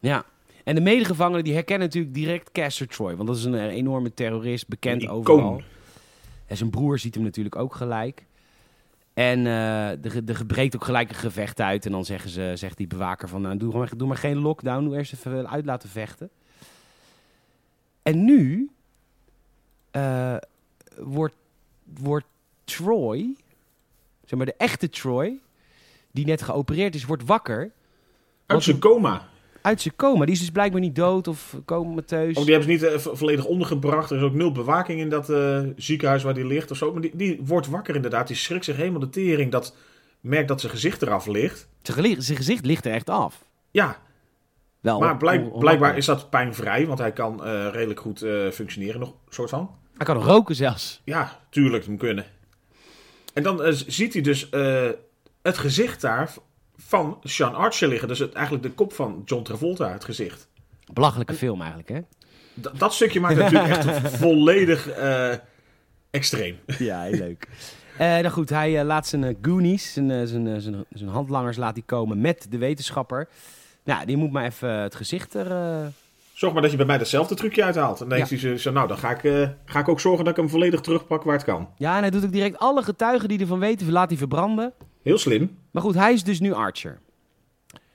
A: Ja. En de medegevangenen die herkennen natuurlijk direct Caster Troy. Want dat is een eh, enorme terrorist, bekend
B: Een icoon.
A: overal. En zijn broer ziet hem natuurlijk ook gelijk. En eh, er, ge- er ge- breekt ook gelijk een gevecht uit. En dan zeggen ze, zegt die bewaker van... Nou, doe, gewoon- doe maar geen lockdown, doe eerst even uit laten vechten. En nu eh, wordt, wordt Troy, zeg maar de echte Troy... die net geopereerd is, wordt wakker Wat
B: Uit zijn
A: een-
B: coma.
A: uit zijn coma. Die is dus blijkbaar niet dood of comateus.
B: Ook die hebben ze niet eh, vo- volledig ondergebracht. Er is ook nul bewaking in dat eh, ziekenhuis waar die ligt of zo. Maar die, die wordt wakker inderdaad. Die schrikt zich helemaal de tering. Dat merkt dat zijn gezicht eraf ligt.
A: Zijn, geli- zijn gezicht ligt er echt af.
B: Ja,
A: Wel,
B: maar
A: on-
B: blijk-
A: on- on-
B: blijkbaar is dat pijnvrij. Want hij kan eh, redelijk goed eh, functioneren nog, soort van.
A: Hij kan roken zelfs.
B: Ja, tuurlijk, het moet kunnen. En dan eh, z- ziet hij dus eh, het gezicht daar v- van Sean Archer liggen. Dus het, eigenlijk de kop van John Travolta, het gezicht.
A: Belachelijke film eigenlijk, hè?
B: D- dat stukje maakt het natuurlijk echt volledig eh, extreem.
A: Ja, heel leuk. nou goed, hij eh, laat zijn eh, goonies, zijn, eh, zijn, eh, zijn, zijn handlangers laat hij komen met de wetenschapper. Nou, die moet maar even eh, het gezicht er... eh,
B: Zorg maar dat je bij mij hetzelfde trucje uithaalt. En dan denkt hij zo, nou, dan ga ik, eh, ga ik ook zorgen dat ik hem volledig terugpak waar het kan.
A: Ja, en hij doet ook direct alle getuigen die ervan weten, laat hij verbranden.
B: Heel slim.
A: Maar goed, hij is dus nu Archer.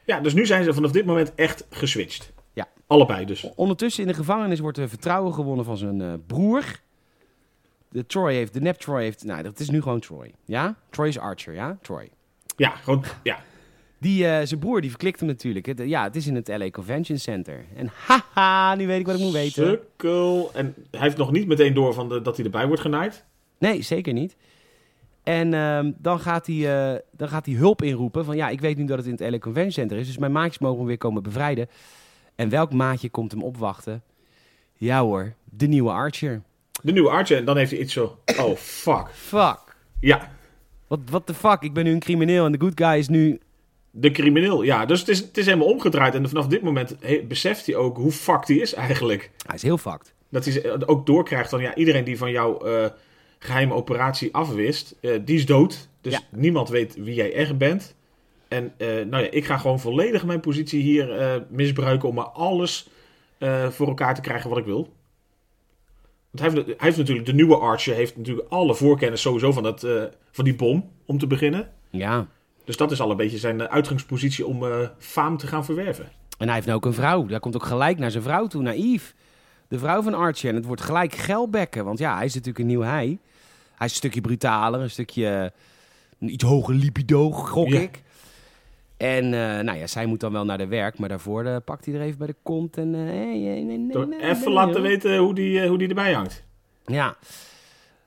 B: Ja, dus nu zijn ze vanaf dit moment echt geswitcht.
A: Ja.
B: Allebei dus.
A: Ondertussen in de gevangenis wordt er vertrouwen gewonnen van zijn eh, broer. De Troy heeft, de nep Troy heeft, nou dat is nu gewoon Troy. Ja? Troy is Archer, ja? Troy.
B: Ja, gewoon, ja.
A: Die, eh, zijn broer die verklikt hem natuurlijk. Het- ja, het is in het LA Convention Center. En haha, nu weet ik wat ik moet weten.
B: Sukkel. En hij heeft nog niet meteen door van de, dat hij erbij wordt genaaid.
A: Nee, zeker niet. En ehm, dan, gaat hij, eh, dan gaat hij hulp inroepen van ja, ik weet nu dat het in het LA Convention Center is, dus mijn maatjes mogen hem weer komen bevrijden. En welk maatje komt hem opwachten? Ja hoor, de nieuwe Archer.
B: De nieuwe Archer. En dan heeft hij iets zo... Oh, fuck.
A: Fuck.
B: Ja,
A: Wat what the fuck? Ik ben nu een crimineel en de good guy is nu...
B: de crimineel. Ja, dus het is, het is helemaal omgedraaid. En vanaf dit moment he- beseft hij ook hoe fucked hij is eigenlijk.
A: Hij is heel fucked.
B: Dat hij ze- eh, ook doorkrijgt van... Ja, iedereen die van jouw eh, geheime operatie afwist, eh, die is dood. Dus
A: Ja.
B: niemand weet wie jij echt bent. En eh, nou ja, ik ga gewoon volledig mijn positie hier eh, misbruiken om maar alles eh, voor elkaar te krijgen wat ik wil. Want hij heeft, hij heeft natuurlijk, de nieuwe Archer heeft natuurlijk alle voorkennis sowieso van, dat, eh, van die bom, om te beginnen.
A: Ja.
B: Dus dat is al een beetje zijn eh, uitgangspositie om eh faam te gaan verwerven.
A: En hij heeft nou ook een vrouw. Daar komt ook gelijk naar zijn vrouw toe, naar Yves. De vrouw van Archer. En het wordt gelijk gelbekken. Want ja, hij is natuurlijk een nieuw hij. Hij is een stukje brutaler, een stukje eh, een iets hoger libido, gok
B: Ja.
A: ik. En eh, nou ja, zij moet dan wel naar de werk. Maar daarvoor eh, pakt hij er even bij de kont. En, eh, hey, hey, nee, nee,
B: Door
A: nee,
B: even
A: nee,
B: laten
A: hoor.
B: weten hoe die, eh, hoe die erbij hangt.
A: Ja.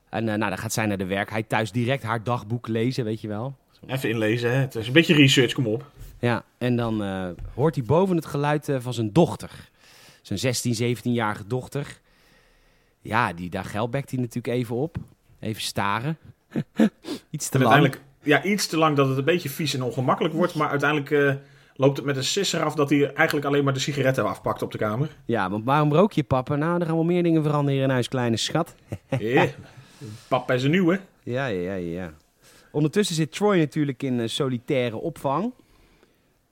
A: En eh, nou, dan gaat zij naar de werk. Hij thuis direct haar dagboek lezen, weet je wel.
B: Even inlezen, hè. Het is een beetje research, kom op.
A: Ja, en dan eh, hoort hij boven het geluid eh, van zijn dochter. Zijn 16, 17-jarige dochter. Ja, die, daar gelbekt hij natuurlijk even op. Even staren. Iets te
B: En
A: lang.
B: uiteindelijk, ja, iets te lang dat het een beetje vies en ongemakkelijk wordt. Maar uiteindelijk eh, loopt het met een sisser af dat hij eigenlijk alleen maar de sigaretten afpakt op de kamer.
A: Ja, want waarom rook je, papa? Nou, er gaan wel meer dingen veranderen hier in huis, kleine schat.
B: Eh, Papa is een nieuwe.
A: Ja, ja, ja, ja. Ondertussen zit Troy natuurlijk in eh, solitaire opvang.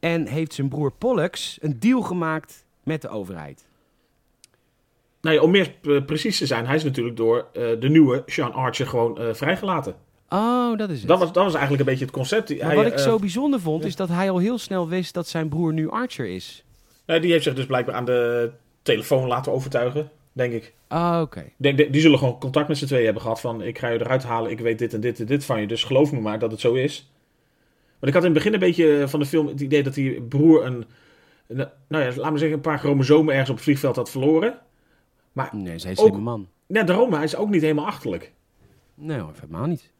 A: En heeft zijn broer Pollux een deal gemaakt met de overheid.
B: Nee, om meer eh, precies te zijn, hij is natuurlijk door eh, de nieuwe Sean Archer gewoon eh, vrijgelaten.
A: Oh, dat is het.
B: Dat was, dat was eigenlijk een beetje het concept. Die-
A: Maar
B: hij,
A: wat ik
B: eh,
A: zo bijzonder vond, is dat hij al heel snel wist dat zijn broer nu Archer is.
B: nee, die heeft zich dus blijkbaar aan de telefoon laten overtuigen, denk ik.
A: Ah, oké.
B: Ik Denk, de- die zullen gewoon contact met z'n tweeën hebben gehad van... ik ga je eruit halen, ik weet dit en dit en dit van je... dus geloof me maar dat het zo is. Maar ik had in het begin een beetje van de film het idee dat die broer een... een nou ja, laat me zeggen, een paar chromosomen ergens op het vliegveld had verloren.
A: Nee, zij is
B: Ook-
A: een slimme man.
B: Net daarom, hij is ook niet helemaal achterlijk.
A: Nee hoor, helemaal niet. Dus-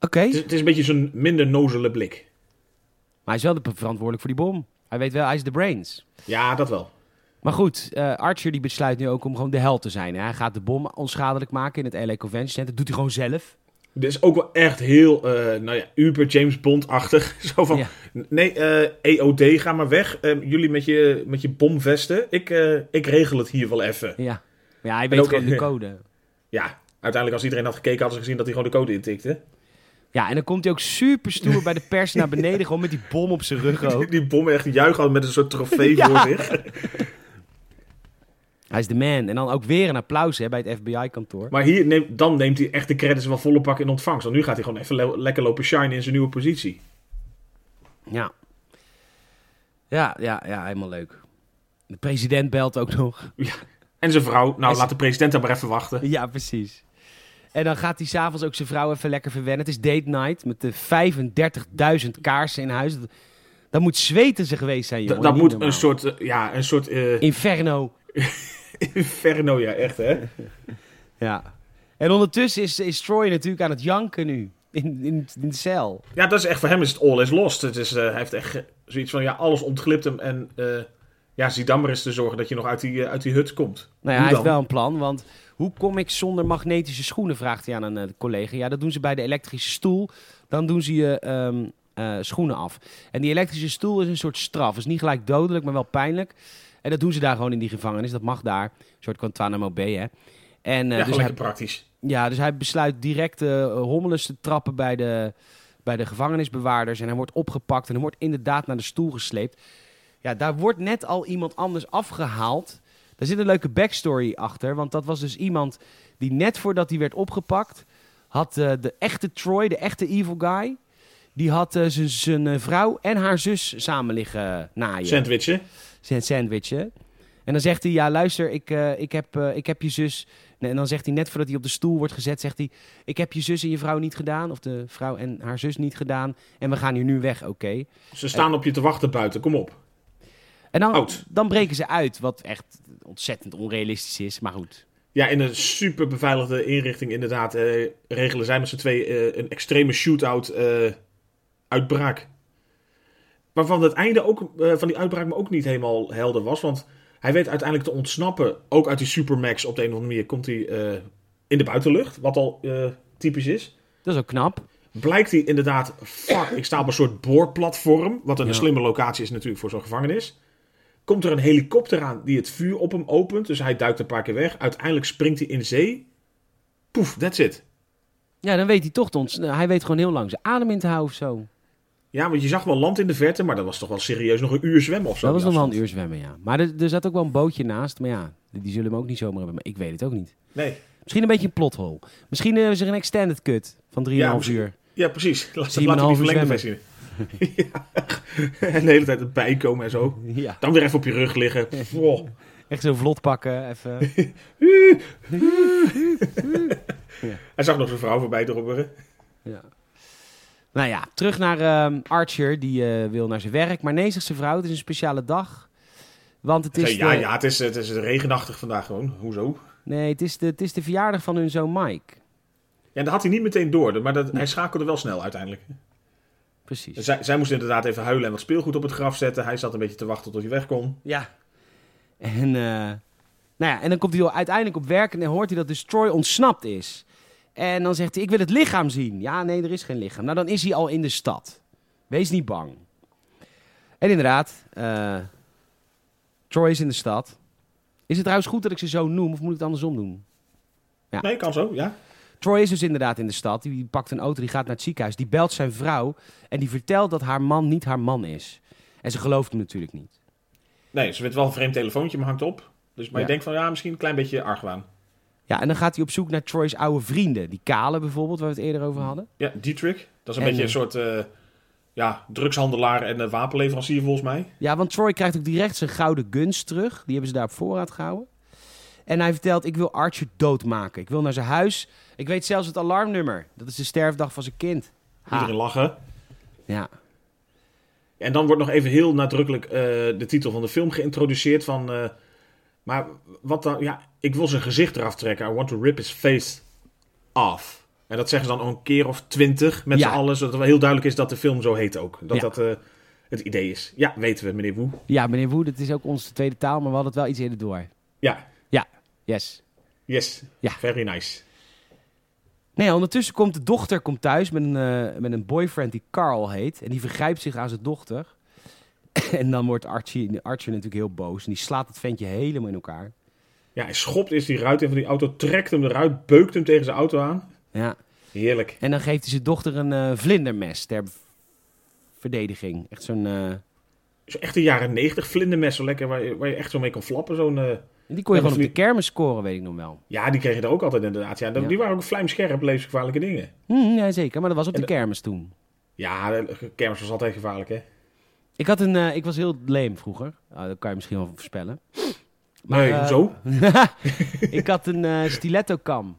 A: Oké,
B: Het is, het is een beetje zo'n minder nozele blik.
A: maar hij is wel de verantwoordelijk voor die bom. Hij weet wel, hij is de brains.
B: Ja, dat wel.
A: Maar goed, eh, Archer die besluit nu ook om gewoon de held te zijn. Hè? Hij gaat de bom onschadelijk maken in het LA Convention Center. Dat doet hij gewoon zelf.
B: Dit is ook wel echt heel, eh, nou ja, uber James Bond-achtig. Zo van,
A: Ja.
B: nee, eh, EOD, ga maar weg. Eh, jullie met je, met je bomvesten. Ik, eh, ik regel het hier wel even.
A: Ja, maar ja hij weet
B: ook-
A: gewoon de code.
B: Ja, uiteindelijk als iedereen had gekeken, hadden ze gezien dat hij gewoon de code intikte.
A: Ja, en dan komt hij ook super stoer bij de pers naar beneden. Gewoon met die bom op zijn rug ook.
B: Die bommen echt juichen had met een soort trofee voor zich.
A: Hij is de man. En dan ook weer een applaus hè, bij het FBI-kantoor.
B: Maar hier neemt, dan neemt hij echt de credits van volle pak in ontvangst. Want nu gaat hij gewoon even le- lekker lopen shine in zijn nieuwe positie.
A: Ja. Ja, ja, ja, helemaal leuk. De president belt ook nog.
B: En zijn vrouw, nou
A: Hij-
B: laat de president daar maar even wachten.
A: Ja, precies. En dan gaat hij s'avonds ook zijn vrouw even lekker verwennen. Het is date night met de 35.000 kaarsen in huis. Dat, dat moet zweten ze geweest zijn,
B: Da-
A: jongen.
B: dat
A: Niet
B: moet
A: normaal.
B: een soort, eh, ja, een soort eh,
A: Inferno.
B: inferno, ja, echt hè.
A: Ja. En ondertussen is, is Troy natuurlijk aan het janken nu. In, in, in de cel.
B: Ja, dat is echt, voor hem is het all is lost. Het is, eh, hij heeft echt eh, zoiets van, ja, alles ontglipt hem. En eh, ja, zie dan maar eens te zorgen dat je nog uit die, eh, uit die hut komt.
A: Nou ja,
B: Hoe
A: hij heeft
B: dan?
A: wel een plan, want hoe kom ik zonder magnetische schoenen, vraagt hij aan een eh, collega. Ja, dat doen ze bij de elektrische stoel. Dan doen ze je ehm, eh, schoenen af. En die elektrische stoel is een soort straf. Is niet gelijk dodelijk, maar wel pijnlijk. En dat doen ze daar gewoon in die gevangenis. Dat mag daar. Een soort Guantanamo Bay, hè. En, eh,
B: ja,
A: dus
B: gewoon
A: hij,
B: lekker praktisch.
A: ja, dus hij besluit direct eh hommeles te trappen bij de, bij de gevangenisbewaarders. En hij wordt opgepakt en hij wordt inderdaad naar de stoel gesleept. Ja, daar wordt net al iemand anders afgehaald. Daar zit een leuke backstory achter. Want dat was dus iemand die net voordat hij werd opgepakt... had eh, de echte Troy, de echte evil guy... die had eh, zijn- zijn eh, vrouw en haar zus samen liggen eh, naaien
B: Sandwichen.
A: zijn sandwichen. En dan zegt hij, ja luister, ik, eh, ik, heb, eh, ik heb je zus... Nee, En dan zegt hij net voordat hij op de stoel wordt gezet, zegt hij... Ik heb je zus en je vrouw niet gedaan, of de vrouw en haar zus niet gedaan. En we gaan hier nu weg, oké.
B: Ze staan op je te wachten buiten, kom op.
A: En dan,
B: Oud.
A: dan breken ze uit, wat echt ontzettend onrealistisch is, maar goed.
B: Ja, in een super beveiligde inrichting inderdaad eh, regelen zij met z'n twee eh, een extreme shootout eh, uitbraak. Waarvan het einde ook, eh, van die uitbraak me ook niet helemaal helder was. Want hij weet uiteindelijk te ontsnappen, ook uit die supermax op de een of andere manier, komt hij eh, in de buitenlucht, wat al eh, typisch is
A: Dat is ook knap.
B: blijkt hij inderdaad, fuck, ik sta op een soort boorplatform, wat een
A: Ja.
B: slimme locatie is natuurlijk voor zo'n gevangenis. Komt er een helikopter aan die het vuur op hem opent, dus hij duikt een paar keer weg. Uiteindelijk springt hij in zee. Poef, that's it.
A: Ja, dan weet hij toch te ontsn- Hij weet gewoon heel lang zijn adem in te houden of zo.
B: Ja, want je zag wel land in de verte, maar dat was toch wel serieus nog een uur zwemmen of zo.
A: dat was
B: die
A: nog wel een
B: afstand.
A: uur zwemmen, ja. Maar er, er zat ook wel een bootje naast. Maar ja, die zullen hem ook niet zomaar hebben. Maar ik weet het ook niet.
B: Nee,
A: Misschien een beetje een plothol. Misschien eh, is er een extended cut van 3,5
B: misschien-
A: uur.
B: ja precies. Laat,
A: Zie je
B: laten
A: maar
B: we
A: een
B: die
A: half
B: verlengde
A: uur
B: versie zien. ja. En de hele tijd het bijkomen en zo.
A: Ja,
B: Dan weer even op je rug liggen. Wow.
A: echt zo vlot pakken. Even.
B: Hij zag nog zijn vrouw voorbij dropperen.
A: Ja. Nou ja, terug naar ehm, Archer. Die eh, wil naar zijn werk. Maar nee, zegt zijn vrouw. Het is een speciale dag. Want het is,
B: Ja,
A: de,
B: ja, het is, het is regenachtig vandaag gewoon. Hoezo?
A: Nee, het, is de, het is de verjaardag van hun zoon Mike.
B: Ja, dat had hij niet meteen door, maar dat, hij schakelde wel snel uiteindelijk.
A: Precies.
B: Zij, zij moest inderdaad even huilen en wat speelgoed op het graf zetten. Hij zat een beetje te wachten tot hij weg kon.
A: Ja. En, eh, nou ja, en dan komt hij uiteindelijk op werk en dan hoort hij dat dus Troy ontsnapt is. En dan zegt hij, ik wil het lichaam zien. Ja, nee, er is geen lichaam. Nou, dan is hij al in de stad. Wees niet bang. En inderdaad, eh, Troy is in de stad. Is het trouwens goed dat ik ze zo noem, of moet ik het andersom doen? Ja.
B: Nee, kan zo, ja.
A: Troy is dus inderdaad in de stad. Die pakt een auto, die gaat naar het ziekenhuis. Die belt zijn vrouw en die vertelt dat haar man niet haar man is. En ze gelooft hem natuurlijk niet.
B: Nee, ze werd wel een vreemd telefoontje, maar hangt op. Dus, maar
A: Ja.
B: je denkt van, ja, misschien een klein beetje argwaan.
A: Ja, en dan gaat hij op zoek naar Troy's oude vrienden. Die kale bijvoorbeeld, waar we het eerder over hadden.
B: Ja, Dietrich, dat is een
A: En,
B: beetje een
A: eh,
B: soort eh, ja, drugshandelaar en eh, wapenleverancier volgens mij.
A: Ja, want Troy krijgt ook direct zijn gouden guns terug. Die hebben ze daar op voorraad gehouden. En hij vertelt, ik wil Archer doodmaken. Ik wil naar zijn huis. Ik weet zelfs het alarmnummer. Dat is de sterfdag van zijn kind. Ha.
B: Iedereen lachen.
A: Ja.
B: En dan wordt nog even heel nadrukkelijk eh, de titel van de film geïntroduceerd van... eh, maar wat dan, ja, ik wil zijn gezicht eraf trekken. I want to rip his face off. En dat zeggen ze dan al een keer of twintig met
A: Ja.
B: z'n allen. Zodat wel heel duidelijk is dat de film zo heet ook. Dat
A: Ja.
B: dat eh, het idee is. Ja, weten we, meneer Woe.
A: ja, meneer Wood, het is ook onze tweede taal, maar we hadden het wel iets eerder door.
B: Ja,
A: Yes.
B: yes.
A: Ja.
B: Very nice.
A: Nee, ondertussen komt de dochter komt thuis met een, eh, met een boyfriend die Carl heet. En die vergrijpt zich aan zijn dochter. en dan wordt Archie, Archer natuurlijk heel boos. En die slaat het ventje helemaal in elkaar.
B: Ja, hij schopt eerst die ruit in van die auto, trekt hem eruit, beukt hem tegen zijn auto aan.
A: Ja.
B: Heerlijk.
A: En dan geeft hij zijn dochter een eh, vlindermes ter v- verdediging. Echt zo'n... eh,
B: Zo echt de jaren negentig vlindermes, zo lekker, waar je, waar je echt zo mee kon flappen. Zo'n... eh,
A: die kon je
B: Ja,
A: gewoon
B: dat
A: op
B: is
A: de kermis scoren, weet ik nog wel.
B: Ja, die kreeg je er ook altijd inderdaad. Ja,
A: Ja.
B: Die waren ook vlijmscherp, levensgevaarlijke dingen.
A: Hm, ja, zeker. Maar dat was op de
B: En
A: kermis toen.
B: Ja, de kermis was altijd gevaarlijk, hè?
A: Ik, had een, eh, ik was heel leem vroeger. Ah, dat kan je misschien wel voorspellen.
B: nee,
A: eh,
B: zo.
A: ik had een eh, stiletto kam.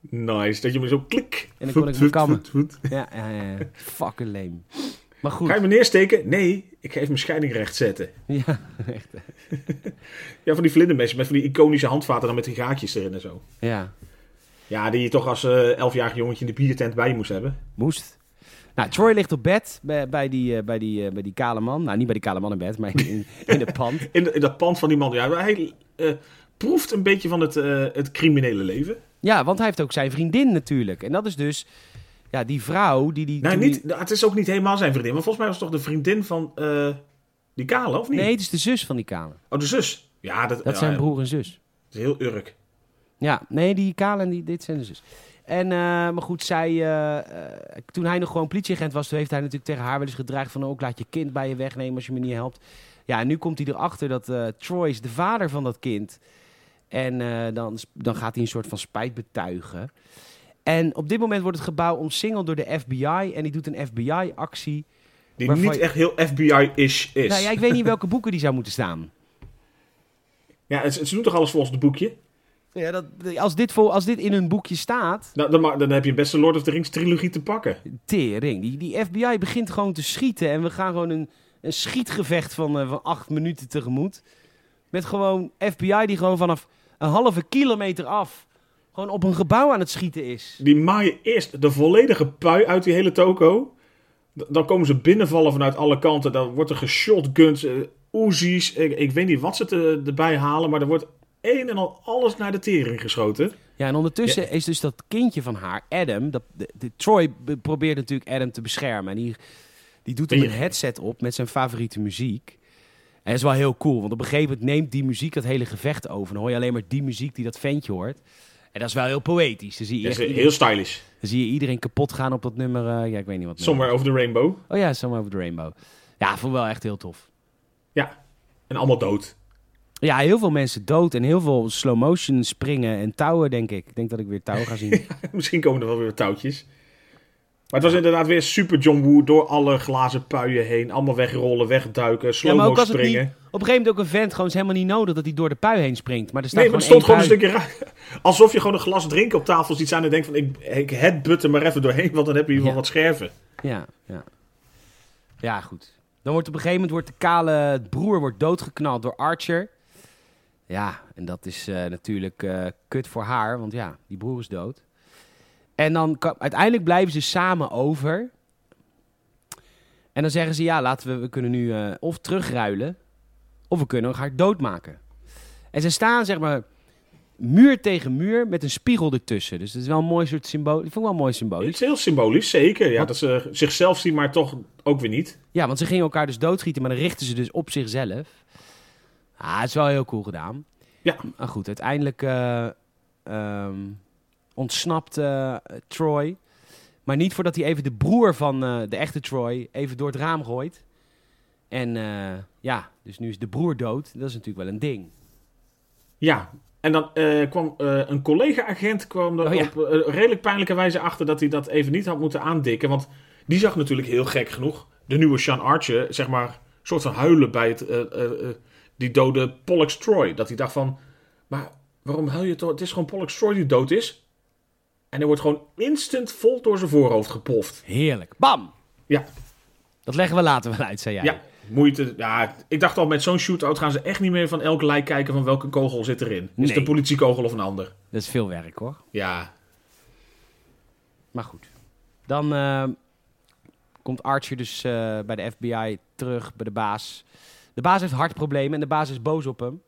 B: Nice, dat je me zo klik.
A: En dan kon ik me kammen.
B: Voet, voet, voet.
A: Ja, ja, ja. Fucking leem. Maar goed.
B: Ga je me neersteken? Nee, ik ga even mijn scheiding recht zetten.
A: Ja, echt. eh,
B: Ja, van die vlindermessen met van die iconische handvaten dan met die gaatjes erin en zo.
A: Ja,
B: Ja, die je toch als eh elfjarig jongetje in de biertent bij je moest hebben.
A: moest. Nou, Troy ligt op bed bij, bij, die, eh, bij, die, eh, bij die kale man. Nou, niet bij die kale man in bed, maar in, in de pand.
B: In, de- in dat pand van die man. Ja, maar hij eh, proeft een beetje van het, eh, het criminele leven.
A: Ja, want hij heeft ook zijn vriendin natuurlijk. En dat is dus ja, die vrouw die die.
B: Nee,
A: toen die-
B: niet, nou, het is ook niet helemaal zijn vriendin. Maar volgens mij was het toch de vriendin van eh, die kale, of niet?
A: Nee, het is de zus van die Kale.
B: Oh, de zus. Ja, dat,
A: Dat
B: ja,
A: zijn
B: ja,
A: broer en zus.
B: Dat is heel urk.
A: Ja, nee, die Kale en die, dit zijn de zus. En, eh, maar goed, zij, eh, eh, toen hij nog gewoon politieagent was, toen heeft hij natuurlijk tegen haar wel eens gedreigd van... ...oh, ik laat je kind bij je wegnemen als je me niet helpt. Ja, en nu komt hij erachter dat eh, Troy is de vader van dat kind. En eh, dan, dan gaat hij een soort van spijt betuigen. En op dit moment wordt het gebouw omsingeld door de FBI. En die doet een FBI-actie
B: Die
A: Waarvan
B: niet
A: je-
B: echt heel FBI-ish is.
A: Nou ja, ik weet niet in welke boeken die zou moeten staan.
B: Ja, ze, ze doen toch alles volgens het boekje?
A: Ja, dat, als, dit voor, als dit in hun boekje staat,
B: Nou, dan, ma- dan heb je best beste Lord of the Rings trilogie te pakken.
A: tering. Die, die FBI begint gewoon te schieten en we gaan gewoon een, een schietgevecht van, eh, van acht minuten tegemoet. Met gewoon FBI die gewoon vanaf een een halve kilometer af gewoon op een gebouw aan het schieten is.
B: Die maaien eerst de volledige pui uit die hele toko. D- Dan komen ze binnenvallen vanuit alle kanten. Dan wordt er geshotguns, eh Uzi's. Ik, ik weet niet wat ze te- erbij halen, maar er wordt een en al alles naar de tering geschoten.
A: Ja, en ondertussen is dus dat kindje van haar, Adam. Dat, de, de- Troy be- probeert natuurlijk Adam te beschermen. En die, die doet hem
B: Ja.
A: een headset op met zijn favoriete muziek. En dat is wel heel cool, want op een gegeven moment neemt die muziek dat hele gevecht over. Dan hoor je alleen maar die muziek die dat ventje hoort. En dat is wel heel poëtisch. Dan zie je,
B: Dat
A: echt
B: is eh,
A: iedereen,
B: heel stylish.
A: dan zie je iedereen kapot gaan op dat nummer. eh, ja, ik weet niet wat. nummer.
B: Somewhere over the rainbow.
A: Oh ja, Somewhere Over the Rainbow. Ja, vond ik wel echt heel tof.
B: Ja. En allemaal dood.
A: Ja, heel veel mensen dood en heel veel slow motion springen en touwen, denk ik. Ik denk dat ik weer touwen ga zien.
B: Misschien komen er wel weer touwtjes. Maar het was inderdaad weer super John Woo door alle glazen puien heen. Allemaal wegrollen, wegduiken,
A: ja, maar
B: slow-mo
A: ook als het niet, op
B: springen.
A: een gegeven moment ook een vent gewoon is helemaal niet nodig dat hij door de pui heen springt. Maar er staat
B: Nee, maar
A: gewoon
B: er stond gewoon
A: één
B: een stukje raar. Alsof je gewoon een glas drinken op tafel ziet staan en denkt van ik, ik headbutt er maar even doorheen, want dan heb je hier wel
A: Ja.
B: wat scherven.
A: pui. Ja, ja. ja, goed. Dan wordt op een gegeven moment wordt de kale broer wordt doodgeknald door Archer. Ja, en dat is eh, natuurlijk eh, kut voor haar, want ja, die broer is dood. En dan kan- uiteindelijk blijven ze samen over. En dan zeggen ze, ja, laten we, we kunnen nu eh, of terugruilen, of we kunnen haar doodmaken. En ze staan, zeg maar, muur tegen muur met een spiegel ertussen. Dus dat is wel een mooi soort symbool. Ik vond het wel mooi symbolisch.
B: Het is heel symbolisch, zeker. Ja,
A: Wat-
B: dat ze zichzelf zien, maar toch ook weer niet.
A: Ja, want ze gingen elkaar dus doodschieten, maar dan richtten ze dus op zichzelf. Ah, het is wel heel cool gedaan.
B: Ja.
A: Maar goed, uiteindelijk eh, ehm, ontsnapt eh, Troy. Maar niet voordat hij even de broer van eh, de echte Troy even door het raam gooit. En eh, ja, dus nu is de broer dood. Dat is natuurlijk wel een ding.
B: Ja, en dan eh, kwam eh, een collega-agent kwam er
A: Oh, ja.
B: op eh, redelijk pijnlijke wijze achter dat hij dat even niet had moeten aandikken. Want die zag natuurlijk heel gek genoeg de nieuwe Sean Archer, zeg maar, soort van huilen bij het, eh, eh, eh, die dode Pollux Troy. Dat hij dacht van, maar waarom huil je toch? Het is gewoon Pollux Troy die dood is. En hij wordt gewoon instant vol door zijn voorhoofd gepoft.
A: Heerlijk. Bam!
B: Ja.
A: Dat leggen we later wel uit, zei jij.
B: Ja, moeite. Ja, ik dacht al, met zo'n shootout gaan ze echt niet meer van elk lijk kijken van welke kogel zit erin. Is het
A: Nee.
B: een politiekogel of een ander?
A: Dat is veel werk hoor.
B: Ja,
A: Maar goed. Dan eh, komt Archer dus eh, bij de FBI terug, bij de baas. De baas heeft hartproblemen en de baas is boos op hem.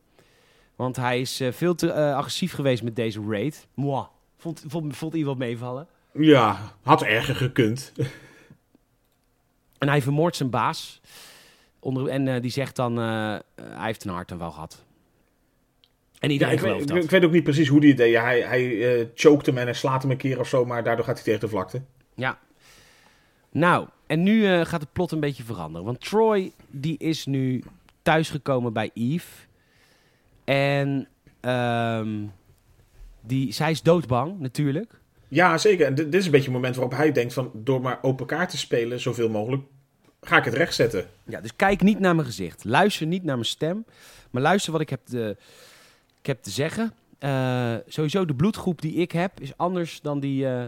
A: Want hij is eh, veel te eh, agressief geweest met deze raid. Mwah. Vond, vond, vond iemand meevallen.
B: Ja, had erger gekund.
A: En hij vermoordt zijn baas. Onder, en eh, die zegt dan, eh, eh, hij heeft een hartaanval gehad. En
B: Ja,
A: iedereen
B: ik,
A: gelooft
B: weet,
A: dat.
B: ik weet ook niet precies hoe die het deed. Ja, hij hij eh, choked hem en hij slaat hem een keer of zo, maar daardoor gaat hij tegen de vlakte.
A: Ja. Nou, en nu eh, gaat het plot een beetje veranderen. Want Troy, die is nu thuisgekomen bij Eve. En ehm, die, zij is doodbang, natuurlijk.
B: Ja, zeker. En dit, dit is een beetje het moment waarop hij denkt van... door maar open kaart te spelen, zoveel mogelijk, ga ik het rechtzetten.
A: Ja, dus kijk niet naar mijn gezicht. Luister niet naar mijn stem. Maar luister wat ik heb te, ik heb te zeggen. Eh, sowieso, de bloedgroep die ik heb is anders dan die eh,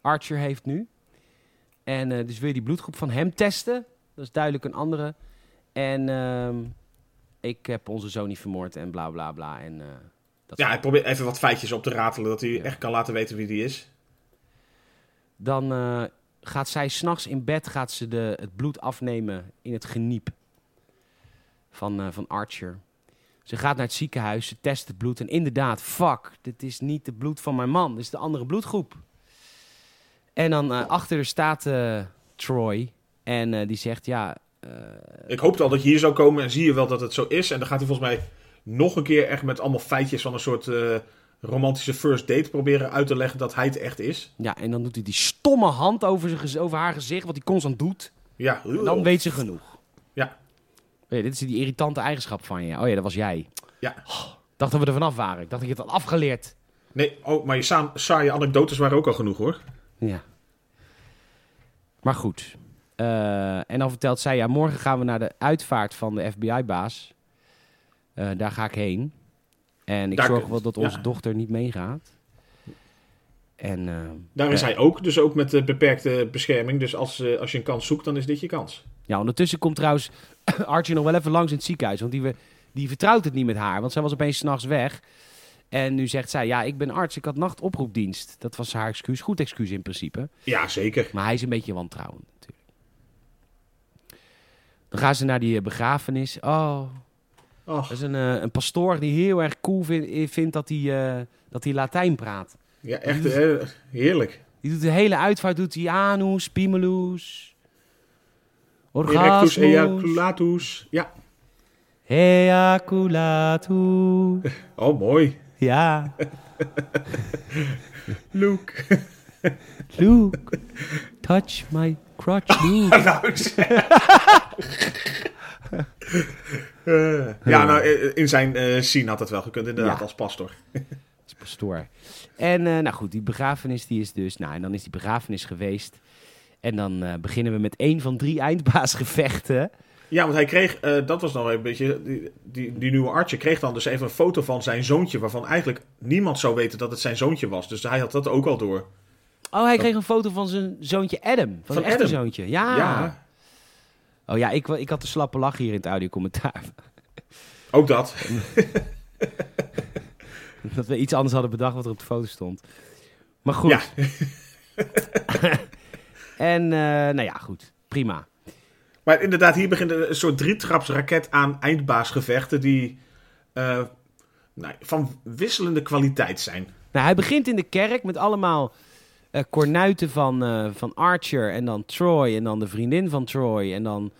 A: Archer heeft nu. En eh, dus wil je die bloedgroep van hem testen? Dat is duidelijk een andere. En ehm, ik heb onze zoon niet vermoord en bla bla bla. En, eh, dat
B: Ja, hij probeert even wat feitjes op te ratelen... dat hij
A: Ja.
B: echt kan laten weten wie die is.
A: Dan eh, gaat zij s'nachts in bed gaat ze de, het bloed afnemen in het geniep van, eh, van Archer. Ze gaat naar het ziekenhuis, ze test het bloed. En inderdaad, fuck, dit is niet het bloed van mijn man. Dit is de andere bloedgroep. En dan eh, achter haar staat eh, Troy. En eh, die zegt, ja... eh,
B: Ik hoopte al dat je hier zou komen en zie je wel dat het zo is. En dan gaat hij volgens mij nog een keer echt met allemaal feitjes... van een soort eh, romantische first date proberen uit te leggen dat hij het echt is.
A: ja, en dan doet hij die stomme hand over, zijn, gez- over haar gezicht, wat hij constant doet.
B: Ja,
A: En dan weet ze genoeg.
B: Ja.
A: Oh ja, dit is die irritante eigenschap van je. Oh ja, dat was jij.
B: Ja.
A: Oh, ik dacht dat we er vanaf waren. Ik dacht dat je het had afgeleerd.
B: Nee, oh, maar je sa- saaie anekdotes waren ook al genoeg, hoor.
A: Ja. Maar goed. Eh, en dan vertelt zij, ja, morgen gaan we naar de uitvaart van de FBI-baas. Eh, daar ga ik heen. En ik
B: Daar
A: zorg
B: kunt-
A: wel dat onze
B: ja.
A: dochter niet meegaat. En eh,
B: Daar is
A: Ja.
B: hij ook, dus ook met eh, beperkte bescherming. Dus als, eh, als je een kans zoekt, dan is dit je kans.
A: ja, ondertussen komt trouwens Archie nog wel even langs in het ziekenhuis. Want die, we, die vertrouwt het niet met haar, want zij was opeens s'nachts weg. En nu zegt zij, ja, ik ben arts, ik had nachtoproepdienst. Dat was haar excuus. Goed excuus in principe.
B: Ja, zeker.
A: Maar hij is een beetje wantrouwend natuurlijk. Dan gaan ze naar die eh, begrafenis. Oh,
B: Ach,
A: dat is een, eh, een pastoor die heel erg cool vin- vindt dat hij, eh, dat hij Latijn praat.
B: ja, echt eh, heerlijk.
A: Die doet de hele uitvaart, doet hij anus, pimelus,
B: Erectus
A: orgasmus,
B: ejaculatus. Ja,
A: ejaculatu.
B: oh mooi.
A: Ja,
B: Luke.
A: Luke, touch my crotch, Luke.
B: Nou, zeg. Eh, ja, nou, eh, in zijn eh scene had het wel gekund, inderdaad,
A: Ja.
B: als pastor.
A: Dat is pastoor. En eh, nou goed, die begrafenis die is dus, nou en dan is die begrafenis geweest. En dan eh, beginnen we met één van drie eindbaasgevechten.
B: Ja, want hij kreeg, eh, dat was nog een beetje, die, die, die nieuwe artje kreeg dan dus even een foto van zijn zoontje, waarvan eigenlijk niemand zou weten dat het zijn zoontje was. Dus hij had dat ook al door.
A: Oh, hij kreeg een foto van zijn zoontje Adam. Van,
B: Van
A: zijn echte
B: Adam?
A: zoontje. Ja.
B: Ja,
A: Oh ja, ik, wa- ik had de slappe lach hier in het audiocommentaar.
B: ook dat.
A: Dat we iets anders hadden bedacht wat er op de foto stond. Maar goed.
B: Ja.
A: en eh, nou ja, goed. Prima.
B: Maar inderdaad, hier begint een soort drietrapsraket aan eindbaasgevechten die eh, nou, van wisselende kwaliteit zijn.
A: Nou, hij begint in de kerk met allemaal eh kornuiten van, eh, van Archer en dan Troy en dan de vriendin van Troy en dan...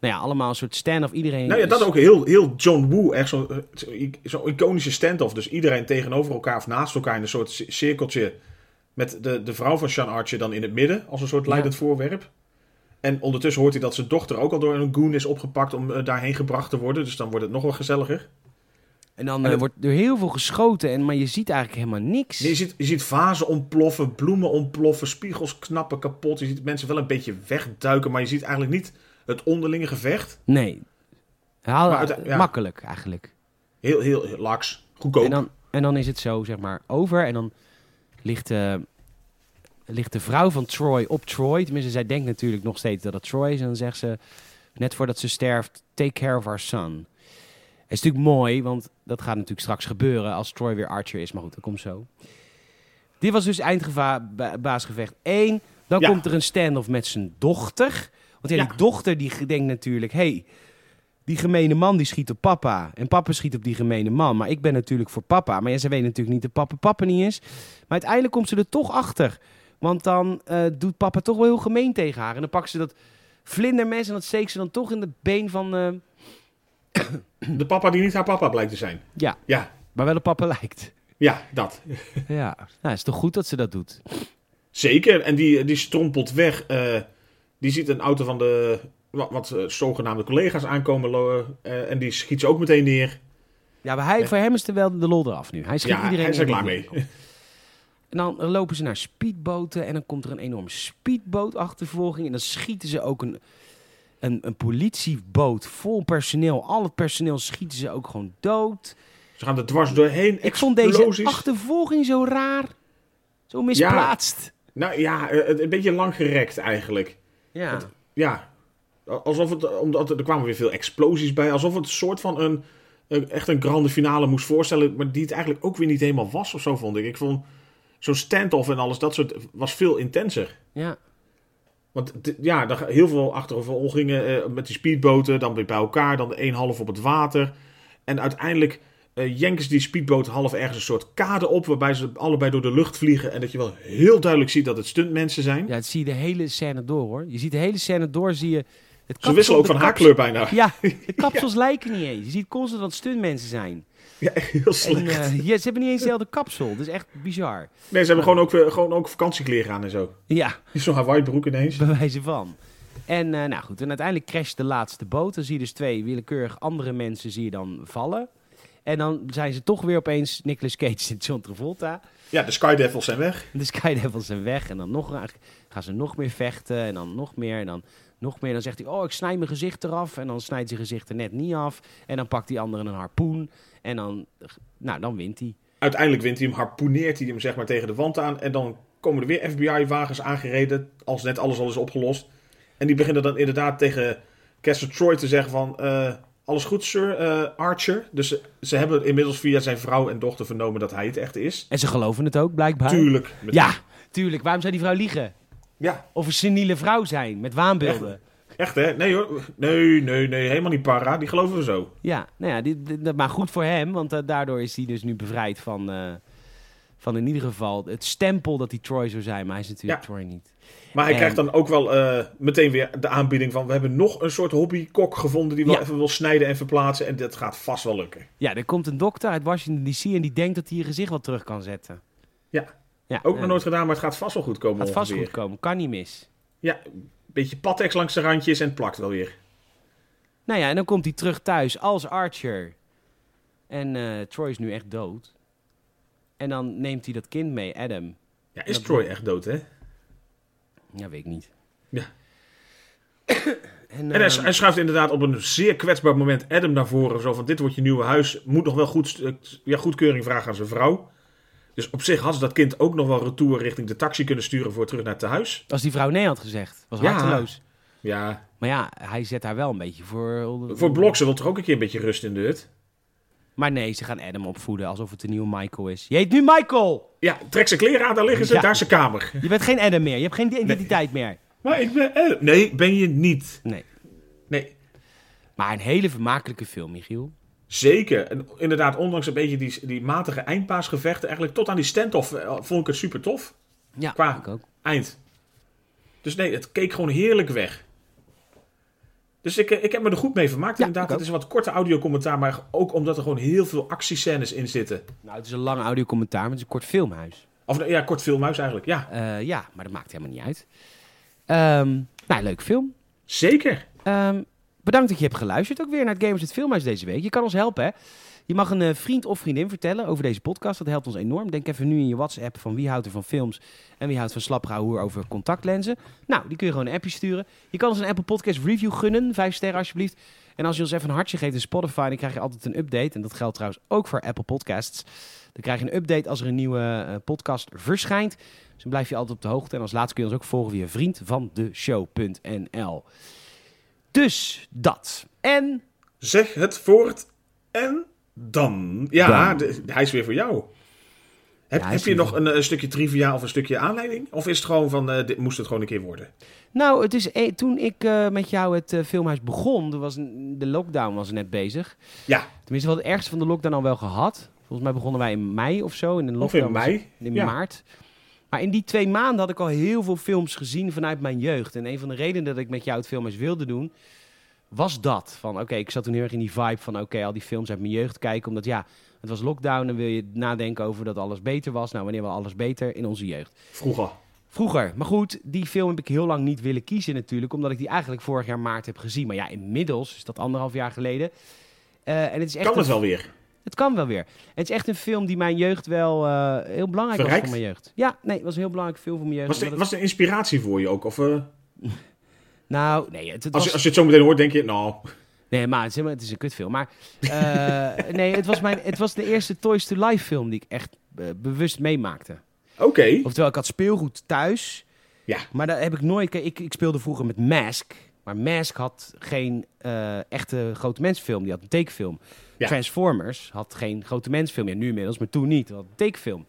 A: Nou ja, allemaal een soort stand-off. Iedereen
B: Nou ja,
A: is-
B: dat ook heel, heel John Woo, echt zo'n eh, zo'n zo'n iconische stand-off. Dus iedereen tegenover elkaar of naast elkaar in een soort ci- cirkeltje. Met de, de vrouw van Sean Archer dan in het midden, als een soort leidend voorwerp. En ondertussen hoort hij dat zijn dochter ook al door een goon is opgepakt om eh, daarheen gebracht te worden. Dus dan wordt het nog wel gezelliger.
A: En dan
B: En
A: eh,
B: het-
A: wordt er heel veel geschoten, en, maar je ziet eigenlijk helemaal niks.
B: Nee, je, ziet, je ziet vazen ontploffen, bloemen ontploffen, spiegels knappen kapot. Je ziet mensen wel een beetje wegduiken, maar je ziet eigenlijk niet het onderlinge gevecht.
A: Nee. Haal-
B: Maar uite- ja.
A: Makkelijk eigenlijk.
B: Heel, heel, heel laks, goedkoop.
A: En dan, en dan is het zo, zeg maar, over. En dan ligt, eh, ligt de vrouw van Troy op Troy. Tenminste, zij denkt natuurlijk nog steeds dat het Troy is. En dan zegt ze, net voordat ze sterft, take care of our son. Het is natuurlijk mooi, want dat gaat natuurlijk straks gebeuren als Troy weer Archer is. Maar goed, dat komt zo. Dit was dus eindbaasgevecht 1. Dan
B: Ja.
A: komt er een stand-off met zijn dochter. Want ja,
B: Ja.
A: die dochter die ge- denkt natuurlijk... hey, die gemene man die schiet op papa. En papa schiet op die gemene man. Maar ik ben natuurlijk voor papa. Maar ja, ze weet natuurlijk niet dat papa papa niet is. Maar uiteindelijk komt ze er toch achter. Want dan eh, doet papa toch wel heel gemeen tegen haar. En dan pakt ze dat vlindermes en dat steekt ze dan toch in het been van... eh,
B: De papa die niet haar papa blijkt te zijn.
A: ja,
B: Ja,
A: maar wel op papa lijkt.
B: ja, dat.
A: Ja, nou, is toch goed dat ze dat doet.
B: Zeker, en die, die strompelt weg. eh, die ziet een auto van de wat, wat eh, zogenaamde collega's aankomen lo- eh, en die schiet ze ook meteen neer.
A: Ja, maar hij, voor hem is er wel de lol eraf nu. Hij schiet
B: ja,
A: iedereen
B: hij is
A: in
B: er
A: de
B: klaar mee.
A: nek. En dan lopen ze naar speedboten en dan komt er een enorme speedbootachtervolging. En dan schieten ze ook een, een, een politieboot vol personeel. Al het personeel schieten ze ook gewoon dood.
B: Ze gaan er dwars doorheen.
A: Ik vond deze
B: explosies.
A: achtervolging zo raar. Zo misplaatst.
B: Nou ja, eh, een beetje langgerekt eigenlijk.
A: Ja.
B: Ja, alsof het, eh, omdat er, er kwamen weer veel explosies bij. Alsof het een soort van een, een- echt een grande finale moest voorstellen. Maar die het eigenlijk ook weer niet helemaal was of zo, vond ik. Ik vond zo'n standoff en alles, dat soort, was veel intenser.
A: ja.
B: Want d- ja, daar ga- heel veel achtervolgingen eh met die speedboten, dan weer bij elkaar, dan de een half op het water. En uiteindelijk eh jenken ze die speedboot half ergens een soort kade op, waarbij ze allebei door de lucht vliegen. En dat je wel heel duidelijk ziet dat het stuntmensen zijn.
A: Ja, dat zie je de hele scène door hoor. Je ziet de hele scène door, zie je... Het
B: ze
A: kapsel-
B: wisselen ook
A: de
B: van haar
A: kaps-
B: kleur bijna.
A: Ja, de kapsels lijken niet eens. Je ziet constant dat het stuntmensen zijn.
B: Ja, heel
A: En,
B: slecht.
A: eh, ja, ze hebben niet eens dezelfde kapsel. Dat is echt bizar.
B: Nee, ze hebben gewoon ook, weer- gewoon ook vakantiekleren aan en zo.
A: Ja,
B: Zo'n Hawaii broek ineens.
A: bij wijze van. En eh, nou goed, en uiteindelijk crasht de laatste boot. Dan zie je dus twee willekeurig andere mensen zie je dan vallen. En dan zijn ze toch weer opeens Nicolas Cage en John Travolta.
B: Ja, de Sky Devils zijn weg.
A: De Sky Devils zijn weg en dan nog, gaan ze nog meer vechten en dan nog meer en dan nog meer. Dan zegt hij, oh, ik snij mijn gezicht eraf. En dan snijdt zijn gezicht er net niet af. En dan pakt die andere een harpoen. En dan, nou, dan wint hij.
B: Uiteindelijk wint hij hem, harpoeneert hij hem zeg maar tegen de wand aan. En dan komen er weer FBI-wagens aangereden, als net alles al is opgelost. En die beginnen dan inderdaad tegen Kessler Troy te zeggen van... eh, alles goed, sir eh, Archer. Dus ze, ze hebben inmiddels via zijn vrouw en dochter vernomen dat hij het echt is.
A: En ze geloven het ook, blijkbaar.
B: Tuurlijk. Met-
A: Ja, tuurlijk. Waarom zou die vrouw liegen?
B: ja.
A: Of een seniele vrouw zijn, met waanbeelden.
B: Echt hè? Nee hoor. Nee, nee, nee. Helemaal niet para. Die geloven we zo.
A: Ja, nou ja, dit, dit- dat- maar goed voor hem, want eh, daardoor is hij dus nu bevrijd van, eh, van in ieder geval het stempel dat hij Troy zou zijn. Maar hij is natuurlijk
B: Ja.
A: Troy niet.
B: Maar hij
A: En-
B: krijgt dan ook wel eh, meteen weer de aanbieding van... we hebben nog een soort hobbykok gevonden... die wel
A: Ja.
B: even wil snijden en verplaatsen. En dat gaat vast wel lukken.
A: Ja, er komt een dokter uit Washington D.C. en die denkt dat hij je gezicht wel terug kan zetten.
B: Ja.
A: ja
B: Ook
A: eh,
B: nog nooit gedaan, maar het gaat vast wel goed komen
A: Gaat vast
B: ongeveer.
A: goed komen, kan niet mis.
B: Ja, een beetje patex langs de randjes en het plakt wel weer.
A: Nou ja, en dan komt hij terug thuis als Archer. En eh, Troy is nu echt dood. En dan neemt hij dat kind mee, Adam.
B: Ja, is
A: Dat-
B: Troy echt dood, hè?
A: Ja, weet ik niet.
B: Ja.
A: en,
B: En hij,
A: ehm,
B: hij schuift inderdaad op een zeer kwetsbaar moment Adam naar voren. Zo van, dit wordt je nieuwe huis. Moet nog wel goed, st- ja, goedkeuring vragen aan zijn vrouw. Dus op zich had ze dat kind ook nog wel retour richting de taxi kunnen sturen voor terug naar het huis.
A: Als die vrouw nee had gezegd, was
B: Ja.
A: harteloos.
B: Ja,
A: Maar ja, hij zet haar wel een beetje voor... onder-
B: voor Blok, ze wil toch ook een keer een beetje rust in de hut?
A: Maar nee, ze gaan Adam opvoeden alsof het de nieuwe Michael is. Je heet nu Michael!
B: Ja, trek zijn kleren aan, daar liggen ze,
A: Ja.
B: daar is zijn kamer.
A: Je bent geen Adam meer, je hebt geen identiteit meer.
B: Maar ik ben Adam. Eh, Nee, ben je niet.
A: Nee.
B: Nee,
A: Maar een hele vermakelijke film, Michiel.
B: Zeker. En inderdaad, ondanks een beetje die, die matige eindpaasgevechten, eigenlijk tot aan die stand-off eh, vond ik het super tof.
A: Ja,
B: Qua-
A: ik ook.
B: Eind. Dus nee, het keek gewoon heerlijk weg. Dus ik, eh, ik heb me er goed mee vermaakt.
A: Ja,
B: inderdaad,
A: ik ook.
B: het is een wat korte audiocommentaar, maar ook omdat er gewoon heel veel actiescènes in zitten.
A: Nou, het is een lang audiocommentaar, maar het is een kort filmhuis.
B: Of nou, ja, kort filmhuis eigenlijk. Ja,
A: Eh, ja, maar dat maakt helemaal niet uit. Ehm nou, leuk film.
B: zeker.
A: Ehm, bedankt dat je hebt geluisterd ook weer naar het Gamers het Filmhuis deze week. Je kan ons helpen, hè. Je mag een eh, vriend of vriendin vertellen over deze podcast. Dat helpt ons enorm. Denk even nu in je WhatsApp van wie houdt er van films en wie houdt van slapgehoer over contactlenzen. Nou, die kun je gewoon een appje sturen. Je kan ons een Apple Podcast review gunnen. Vijf sterren alsjeblieft. En als je ons even een hartje geeft in Spotify, dan krijg je altijd een update. En dat geldt trouwens ook voor Apple Podcasts. Dan krijg je een update als er een nieuwe eh, podcast verschijnt. Dus dan blijf je altijd op de hoogte. En als laatste kun je ons ook volgen via vriendvandeshow.nl. Dus dat. En
B: Zeg het voort en dan. Ja,
A: Dan.
B: de- hij is weer voor jou. Heb,
A: Ja, hij
B: heb
A: is
B: je
A: weer
B: nog een, eh, stukje trivia of een stukje aanleiding? Of is het gewoon van, eh, dit moest het gewoon een keer worden?
A: Nou, het is, e- toen ik eh, met jou het eh, filmhuis begon, er was een- de lockdown was net bezig.
B: Ja,
A: Tenminste, we hadden ergens van de lockdown al wel gehad. Volgens mij begonnen wij in mei of zo. En de
B: of
A: lockdown
B: in
A: was
B: mei.
A: in
B: ja.
A: maart. Maar in die twee maanden had ik al heel veel films gezien vanuit mijn jeugd. En een van de redenen dat ik met jou het filmhuis wilde doen, was dat. Van oké, ik zat toen heel erg in die vibe van oké, al die films uit mijn jeugd kijken. Omdat ja, het was lockdown en wil je nadenken over dat alles beter was. Nou, wanneer was alles beter in onze jeugd?
B: Vroeger.
A: Vroeger. Maar goed, die film heb ik heel lang niet willen kiezen natuurlijk. Omdat ik die eigenlijk vorig jaar maart heb gezien. Maar ja, inmiddels is dat anderhalf jaar geleden. Eh, en het is echt
B: Kan
A: een-
B: het wel weer.
A: het kan wel weer. Het is echt een film die mijn jeugd wel eh, heel belangrijk
B: Verrijkt?
A: was voor mijn jeugd. Ja, nee, het was een heel belangrijk film voor mijn jeugd.
B: Was het
A: omdat
B: was het een inspiratie voor je ook? Of, eh,
A: het- Nou, nee, het, het
B: als,
A: was...
B: je, als je het zo meteen hoort, denk je, nou...
A: Nee, maar het is, helemaal- het is een kutfilm. Maar eh, nee, het was, mijn, het was de eerste Toys to Life film die ik echt eh, bewust meemaakte.
B: Oké.
A: Oftewel, ik had speelgoed thuis.
B: Ja.
A: Maar daar heb ik nooit... kijk, Ik, ik speelde vroeger met Mask. Maar Mask had geen eh, echte grote mensfilm. Die had een tekenfilm.
B: Ja.
A: Transformers had geen grote mensfilm. Ja, nu inmiddels, maar toen niet. Dat had een tekenfilm.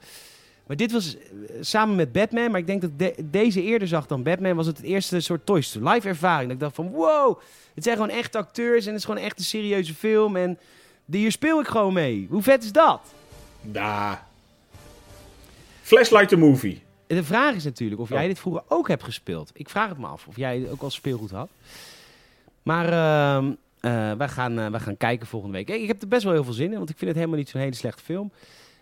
A: Maar dit was eh, samen met Batman. Maar ik denk dat ik de- deze eerder zag dan Batman. Was het het eerste soort Toy Story live ervaring. Dat ik dacht van wow. Het zijn gewoon echte acteurs. En het is gewoon echt een serieuze film. En hier speel ik gewoon mee. Hoe vet is dat?
B: Da. Flashlight the Movie.
A: De vraag is natuurlijk of jij
B: Oh.
A: dit vroeger ook hebt gespeeld. Ik vraag het me af of jij het ook als speelgoed had. Maar ehm, eh, wij, gaan, eh, wij gaan kijken volgende week. Ik ik heb er best wel heel veel zin in, want ik vind het helemaal niet zo'n hele slechte film.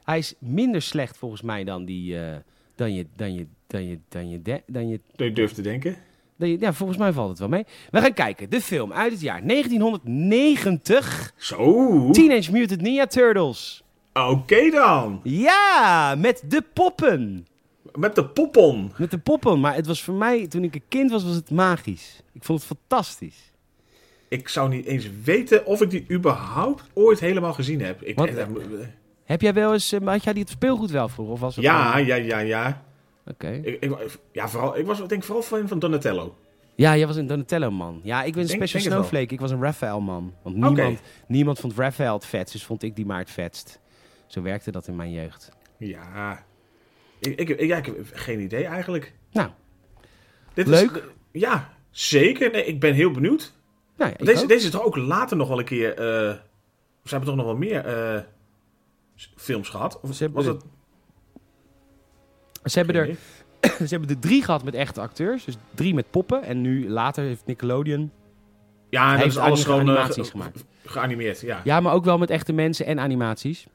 A: Hij is minder slecht volgens mij dan die. eh, dan je. Dan je. Dan je. Dan je. de- Dan je,
B: Ik durf te denken.
A: dan je- ja, volgens mij valt het wel mee. We gaan kijken. De film uit het jaar 1990.
B: Zo. Oké
A: Teenage Mutant Ninja Turtles.
B: dan.
A: Ja, met de poppen.
B: Met de poppon.
A: Met de poppen, maar het was voor mij, toen ik een kind was, was het magisch. Ik vond het fantastisch.
B: Ik zou niet eens weten of ik die überhaupt ooit helemaal gezien heb. Ik,
A: Wat?
B: eh,
A: Heb jij wel eens, eh, had jij die het speelgoed wel vroeger? Of was het
B: ja,
A: gewoon-
B: ja, ja, ja.
A: Oké.
B: Ik, ik, ja, vooral, ik was denk ik vooral fan van Donatello.
A: Ja, jij was een Donatello-man. Ja, ik ben een
B: Denk-
A: Special
B: denk het wel.
A: Snowflake. Ik was een Raphael-man. Want
B: Oké.
A: niemand, niemand vond Raphael het vetst, dus vond ik die maar het vetst. Zo werkte dat in mijn jeugd.
B: Ja. Ik, ik, ja, ik heb geen idee eigenlijk.
A: Nou,
B: Dit Is,
A: Leuk.
B: ja, zeker. Nee, ik ben heel benieuwd.
A: nou ja, ik
B: Deze,
A: ook.
B: deze is toch ook later nog wel een keer... eh, ze hebben toch nog wel meer eh, s- films gehad? Of
A: Ze hebben
B: was dat...
A: Ze, hebben er, ze hebben er drie gehad met echte acteurs. Dus drie met poppen. En nu later heeft Nickelodeon...
B: Ja, en dat
A: heeft
B: is alles
A: anima-
B: gewoon eh,
A: animaties
B: ge-
A: gemaakt.
B: geanimeerd. Ja.
A: Ja, maar ook wel met echte mensen en animaties.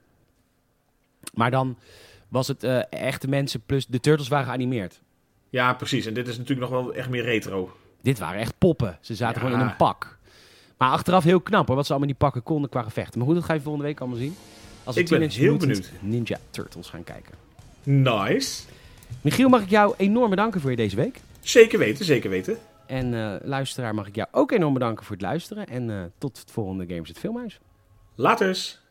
A: Maar dan was het eh, echte mensen plus... De Turtles waren geanimeerd.
B: ja, precies. En dit is natuurlijk nog wel echt meer retro.
A: Dit waren echt poppen. Ze zaten
B: Ja.
A: gewoon in een pak. Maar achteraf heel knap hoor, wat ze allemaal in die pakken konden qua gevechten. Maar goed, dat ga je volgende week allemaal zien. Als we
B: Ik ben
A: Teenage
B: heel
A: Mutant
B: benieuwd.
A: Ninja Turtles gaan kijken.
B: Nice.
A: Michiel, mag ik jou enorm bedanken voor je deze week.
B: Zeker weten, zeker weten.
A: En eh, luisteraar, mag ik jou ook enorm bedanken voor het luisteren. En eh, tot het volgende Games het Filmhuis.
B: Laters.